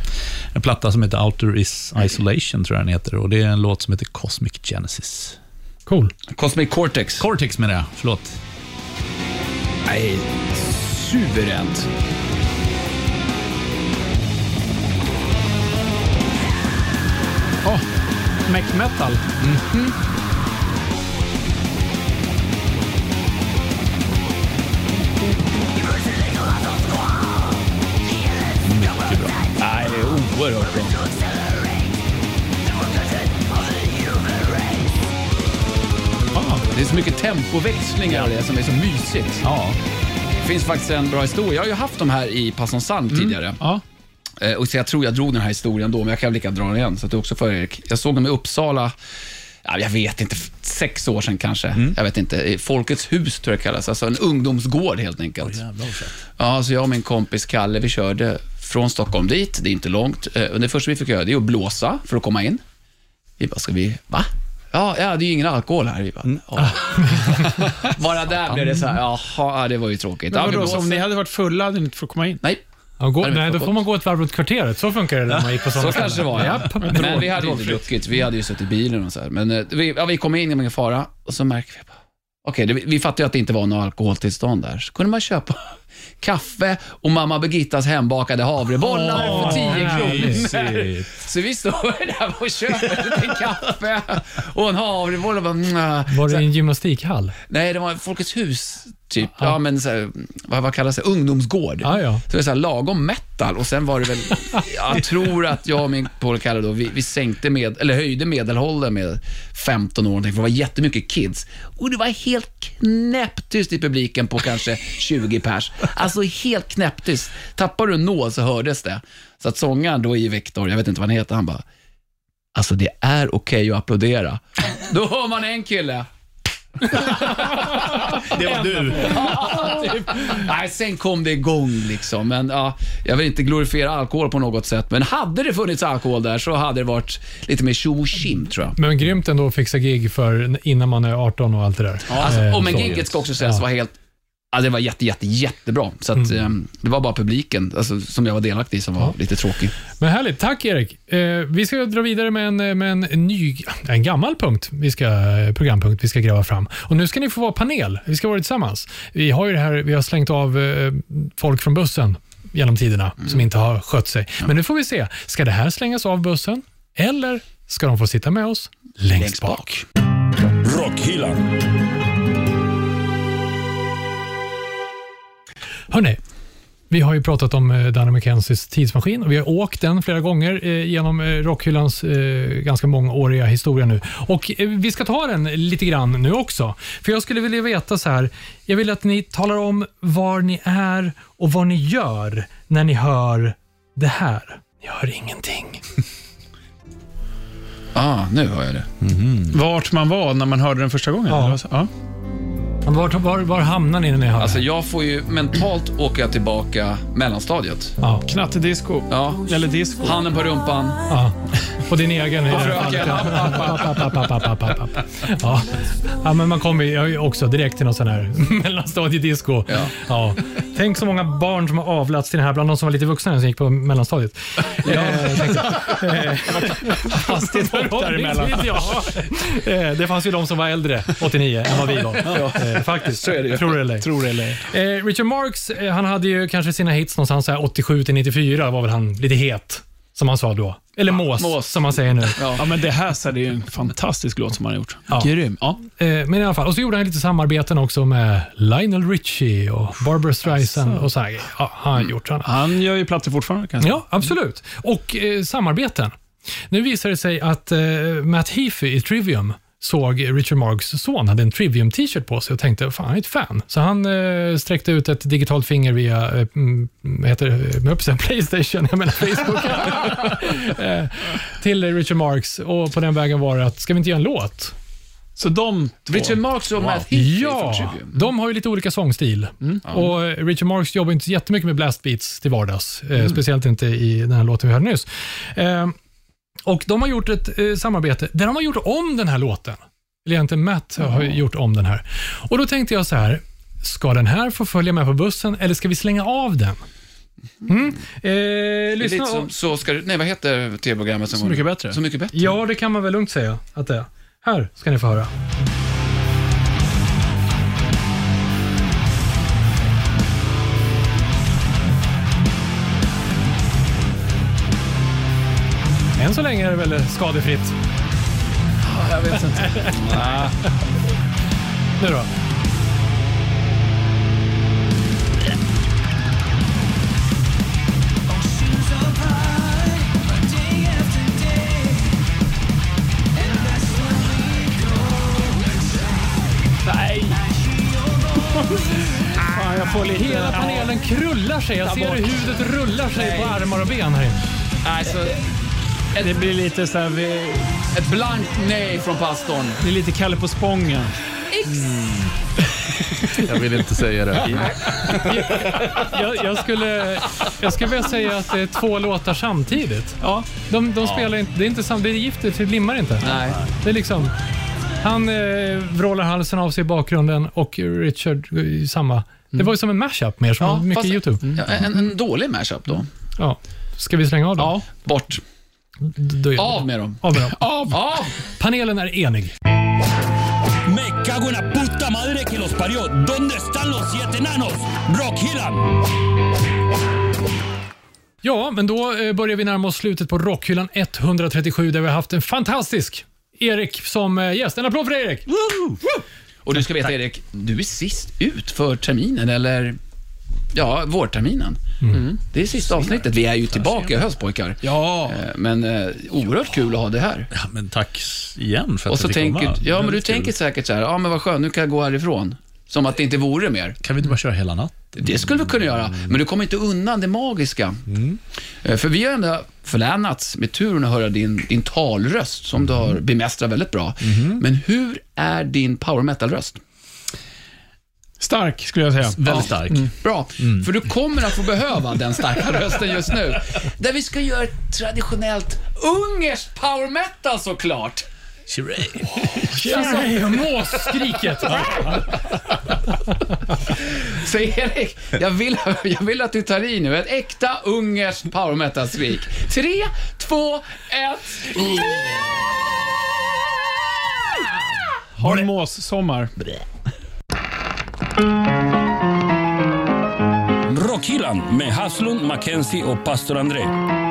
[SPEAKER 5] En platta som heter Outer is Isolation, tror jag den heter. Och det är en låt som heter Cosmic Genesis.
[SPEAKER 2] Cool.
[SPEAKER 3] Cosmic Cortex.
[SPEAKER 5] Cortex menar jag, förlåt.
[SPEAKER 3] Nej, suveränt.
[SPEAKER 4] Oh, Mac Metal.
[SPEAKER 3] Nej, det är oerhört bra. Ah, Det är så mycket tempoväxlingar och det som är så mysigt.
[SPEAKER 5] Ja.
[SPEAKER 3] Det finns faktiskt en bra historia. Jag har ju haft de här i Passon Sand tidigare.
[SPEAKER 4] Ja.
[SPEAKER 3] Eh, Och så jag tror jag drog den här historien då, men jag kan lika gärna dra den igen. Så att det är också för Erik. Jag såg dem i Uppsala, ja, jag vet inte, f- sex år sedan kanske.
[SPEAKER 4] Mm.
[SPEAKER 3] Jag vet inte. I Folkets hus tror jag det kallas. Alltså en ungdomsgård helt enkelt. ja, så jag och min kompis Kalle, vi körde från Stockholm dit. Det är inte långt. Eh, och Det första vi fick göra, det är att blåsa för att komma in. Vi bara, ska vi, va? Ja, ja, det är ju ingen alkohol här. Vi bara,
[SPEAKER 4] Mm.
[SPEAKER 3] ja. Bara där blev det så här, jaha, ja, det var ju tråkigt.
[SPEAKER 4] Men
[SPEAKER 3] Ja, vi
[SPEAKER 4] vadå, så
[SPEAKER 3] blåser.
[SPEAKER 4] om ni hade varit fulla hade ni inte fått komma in?
[SPEAKER 3] Nej,
[SPEAKER 2] Ja, gå,
[SPEAKER 3] det vet
[SPEAKER 2] nej, då
[SPEAKER 3] jag
[SPEAKER 2] får man gå ett varv runt kvarteret. Så funkar det när man gick på sådana
[SPEAKER 3] Så kanske det var, ja. Men vi hade ju inte druckit. Vi hade ju suttit i bilen och så här. Men eh, vi, ja, vi kom in, det var ingen fara. Och så märker vi bara, okej, det- vi fattade ju att det inte var något alkoholtillstånd där. Så kunde man köpa kaffe och mamma Birgittas hembakade havrebollar för 10 kronor.
[SPEAKER 5] Mysigt.
[SPEAKER 3] Så vi står där och köper lite kaffe och en havreboll och bara, mm,
[SPEAKER 2] Var det i en gymnastikhall?
[SPEAKER 3] Nej, det var Folkets hus, typ. Ja, men så här, vad, vad kallas det? Ungdomsgård.
[SPEAKER 2] Ja, ja.
[SPEAKER 3] Så det var så här, lagom metal och sen var det väl, jag tror att jag och min polare Kalle då, vi, vi sänkte med, eller höjde medelåldern med 15 år någonting, för det var jättemycket kids. Och det var helt knäpptyst i publiken på kanske 20 pers. Alltså helt knäpptyst. Tappar du en nål så hördes det. Så att sångaren då i Vector, jag vet inte vad han heter, han bara, alltså det är okej att applådera. Då hör man en kille,
[SPEAKER 5] Det var du.
[SPEAKER 3] Nej, sen kom det igång liksom. Men ja, jag vill inte glorifiera alkohol på något sätt, men hade det funnits alkohol där så hade det varit lite mer tjo och tjim, tror jag.
[SPEAKER 2] Men grymt ändå att fixa gig för innan man är 18 och allt det där.
[SPEAKER 3] Alltså,
[SPEAKER 2] Eh,
[SPEAKER 3] och men
[SPEAKER 2] så.
[SPEAKER 3] giget ska också sägas var helt... Ja, det var jätte, jätte, jättebra. Så att,
[SPEAKER 2] Mm.
[SPEAKER 3] ehm, det var bara publiken alltså, som jag var delaktig i som var lite tråkig.
[SPEAKER 2] Men härligt. Tack Erik. Eh, vi ska dra vidare med en, eh, med en ny, en gammal punkt, vi ska, eh, programpunkt vi ska gräva fram. Och nu ska ni få vara panel. Vi ska vara tillsammans. Vi har ju det här, vi har slängt av eh, folk från bussen genom tiderna som inte har skött sig. Men nu får vi se. Ska det här slängas av bussen eller ska de få sitta med oss längst,
[SPEAKER 3] Längst
[SPEAKER 2] bak?
[SPEAKER 3] bak.
[SPEAKER 1] Rockhyllan.
[SPEAKER 2] Hörni, vi har ju pratat om eh, Danny McKenzies tidsmaskin och vi har åkt den flera gånger eh, genom eh, rockhyllans eh, ganska mångåriga historia nu. Och eh, vi ska ta den lite grann nu också. För jag skulle vilja veta så här, jag vill att ni talar om var ni är och vad ni gör när ni hör det här. Ni hör ingenting.
[SPEAKER 3] Ah, nu hör jag det.
[SPEAKER 4] Mm. Vart man var när man hörde den första gången?
[SPEAKER 2] Ja.
[SPEAKER 4] eller vad sa- ja.
[SPEAKER 2] Men Var, var, var hamnar ni när ni hör
[SPEAKER 3] Alltså
[SPEAKER 2] det?
[SPEAKER 3] jag får ju mentalt åka tillbaka mellanstadiet.
[SPEAKER 2] Ja,
[SPEAKER 4] Knattedisco.
[SPEAKER 3] Ja.
[SPEAKER 4] Eller disco.
[SPEAKER 3] Handen på rumpan.
[SPEAKER 2] ja. På din egen... i det här fallet.
[SPEAKER 3] Fröken.
[SPEAKER 2] App, app, app, app, app, app, app. Ja. ja, men man kommer ju också direkt till någon sån här mellanstadiedisco.
[SPEAKER 3] Ja.
[SPEAKER 2] Ja. Tänk så många barn som har avlats till den här, bland de som var lite vuxna som gick på mellanstadiet. Ja. Hastigt hopp däremellan. Ja. Eh, Det fanns ju de som var äldre, 89, än vad vi var. Eh, Faktiskt. Så är det Tror det eller ej.
[SPEAKER 4] Tror det eller ej.
[SPEAKER 2] Eh, Richard Marx, eh, han hade ju kanske sina hits någonstans så här 87 till 94 var väl han lite het, som han sa då. Eller mås,
[SPEAKER 3] mås.
[SPEAKER 2] som man säger nu.
[SPEAKER 4] Ja, men det här så är det ju en fantastisk låt som han har gjort.
[SPEAKER 2] Ja.
[SPEAKER 4] Grym. Ja.
[SPEAKER 2] Eh, men i alla fall, och så gjorde han lite samarbeten också med Lionel Richie och Barbra Streisand och så här. grejer. Ja, han har gjort sådana.
[SPEAKER 4] Han gör ju plattor fortfarande kan jag säga.
[SPEAKER 2] Ja, absolut. Och eh, samarbeten. Nu visar det sig att eh, Matt Heafy i Trivium såg Richard Marks son hade en Trivium-t-shirt på sig och tänkte, fan, han är ett fan. Så han eh, sträckte ut ett digitalt finger via, eh, mm, vad heter det, jag höll på att säga Playstation, jag menar Facebook, eh, till Richard Marks och på den vägen var det att, ska vi inte göra en låt?
[SPEAKER 4] Så de två.
[SPEAKER 3] Richard Marx och Matt Heafy
[SPEAKER 2] Ja,
[SPEAKER 3] från Tribune.
[SPEAKER 2] de har ju lite olika sångstil.
[SPEAKER 3] Mm.
[SPEAKER 2] Och eh, Richard Marx jobbar inte så jättemycket med blast beats till vardags. eh,
[SPEAKER 3] Mm.
[SPEAKER 2] Speciellt inte i den här låten vi hörde nyss. Eh, och de har gjort ett eh, samarbete där de har gjort om den här låten. Eller egentligen Matt har gjort om den här. Och då tänkte jag så här, ska den här få följa med på bussen eller ska vi slänga av den? Mm. Eh,
[SPEAKER 3] Det är
[SPEAKER 2] lyssna
[SPEAKER 3] lite
[SPEAKER 2] och-
[SPEAKER 3] som Så ska du... Nej, vad heter tv-programmet som
[SPEAKER 4] Så
[SPEAKER 3] var-
[SPEAKER 4] mycket bättre.
[SPEAKER 3] Så mycket bättre.
[SPEAKER 2] Ja, det kan man väl lugnt säga att det är. Här ska ni få höra. Än så länge är det väl skadefritt.
[SPEAKER 4] Jag vet inte.
[SPEAKER 2] Nu då.
[SPEAKER 4] Fan, jag får lite...
[SPEAKER 2] Hela panelen krullar sig. Jag ser hur huvudet rullar sig på armar och ben här inne.
[SPEAKER 3] Alltså,
[SPEAKER 4] Ja, det blir lite så här, vi-
[SPEAKER 3] ett blankt nej från pastorn.
[SPEAKER 4] det är lite Kalle på Spången.
[SPEAKER 5] Jag vill inte säga det.
[SPEAKER 2] Jag, jag, skulle, jag skulle vilja säga att det är två låtar samtidigt.
[SPEAKER 4] Ja.
[SPEAKER 2] De, de spelar inte, det är inte sam, det är giftigt, det limmar inte.
[SPEAKER 3] Nej.
[SPEAKER 2] Det är liksom, han eh, vrålar halsen av sig i bakgrunden och Richard i samma. Det var ju som en mashup mer, som
[SPEAKER 3] Mm. Ja,
[SPEAKER 2] mycket
[SPEAKER 3] fast-
[SPEAKER 2] YouTube.
[SPEAKER 3] Ja, en, en dålig mashup då.
[SPEAKER 2] Ja. Ska vi slänga av dem?
[SPEAKER 4] Ja.
[SPEAKER 3] Bort.
[SPEAKER 2] Då gör vi
[SPEAKER 3] Av
[SPEAKER 2] det.
[SPEAKER 3] med dem.
[SPEAKER 2] Av med dem.
[SPEAKER 3] Av! Av!
[SPEAKER 2] Panelen är enig.
[SPEAKER 1] Me cago en la puta madre que los parió. ¿Dónde están los siete enanos? Rock Hillan.
[SPEAKER 2] Ja, men då eh, börjar vi närma oss slutet på Rockhyllan 137 där vi har haft en fantastisk Erik som eh, gäst. En applåd för Erik!
[SPEAKER 3] Och du ska veta Erik, du är sist ut för terminen eller ja, vårterminen.
[SPEAKER 5] Mm.
[SPEAKER 3] Mm. Det är sista avsnittet. Vi är ju tillbaka i höst pojkar.
[SPEAKER 4] Ja.
[SPEAKER 3] Eh, Men eh, oerhört kul att ha det här.
[SPEAKER 5] Ja, men tack igen för att
[SPEAKER 3] Och så
[SPEAKER 5] jag fick
[SPEAKER 3] tänker,
[SPEAKER 5] komma.
[SPEAKER 3] ja men du
[SPEAKER 5] Väldigt kul.
[SPEAKER 3] tänker säkert så här, ja men vad skönt, nu kan jag gå härifrån. Som att det inte vore mer.
[SPEAKER 5] Kan vi inte bara köra hela natten?
[SPEAKER 3] Det skulle vi kunna göra,
[SPEAKER 5] Mm.
[SPEAKER 3] men du kommer inte undan det magiska. Eh, För vi har ändå förlänats med turen att höra din, din talröst, som du
[SPEAKER 5] Mm.
[SPEAKER 3] har bemästrat väldigt bra. Men hur är din power metal-röst?
[SPEAKER 4] Stark, skulle jag säga.
[SPEAKER 5] Väldigt stark.
[SPEAKER 3] Mm.
[SPEAKER 5] Mm.
[SPEAKER 3] Bra, för du kommer att få behöva den starka rösten just nu. Där vi ska göra ett traditionellt ungerskt power metal såklart.
[SPEAKER 5] Chiré.
[SPEAKER 2] Alltså, måsskriket!
[SPEAKER 3] Så Erik, jag vill, jag vill att du tar i nu ett äkta ungerskt power metal-skrik. Tre, två, ett.
[SPEAKER 4] Har du måssommar?
[SPEAKER 1] Rock Hillan med Haslund, Mackenzie och pastor André.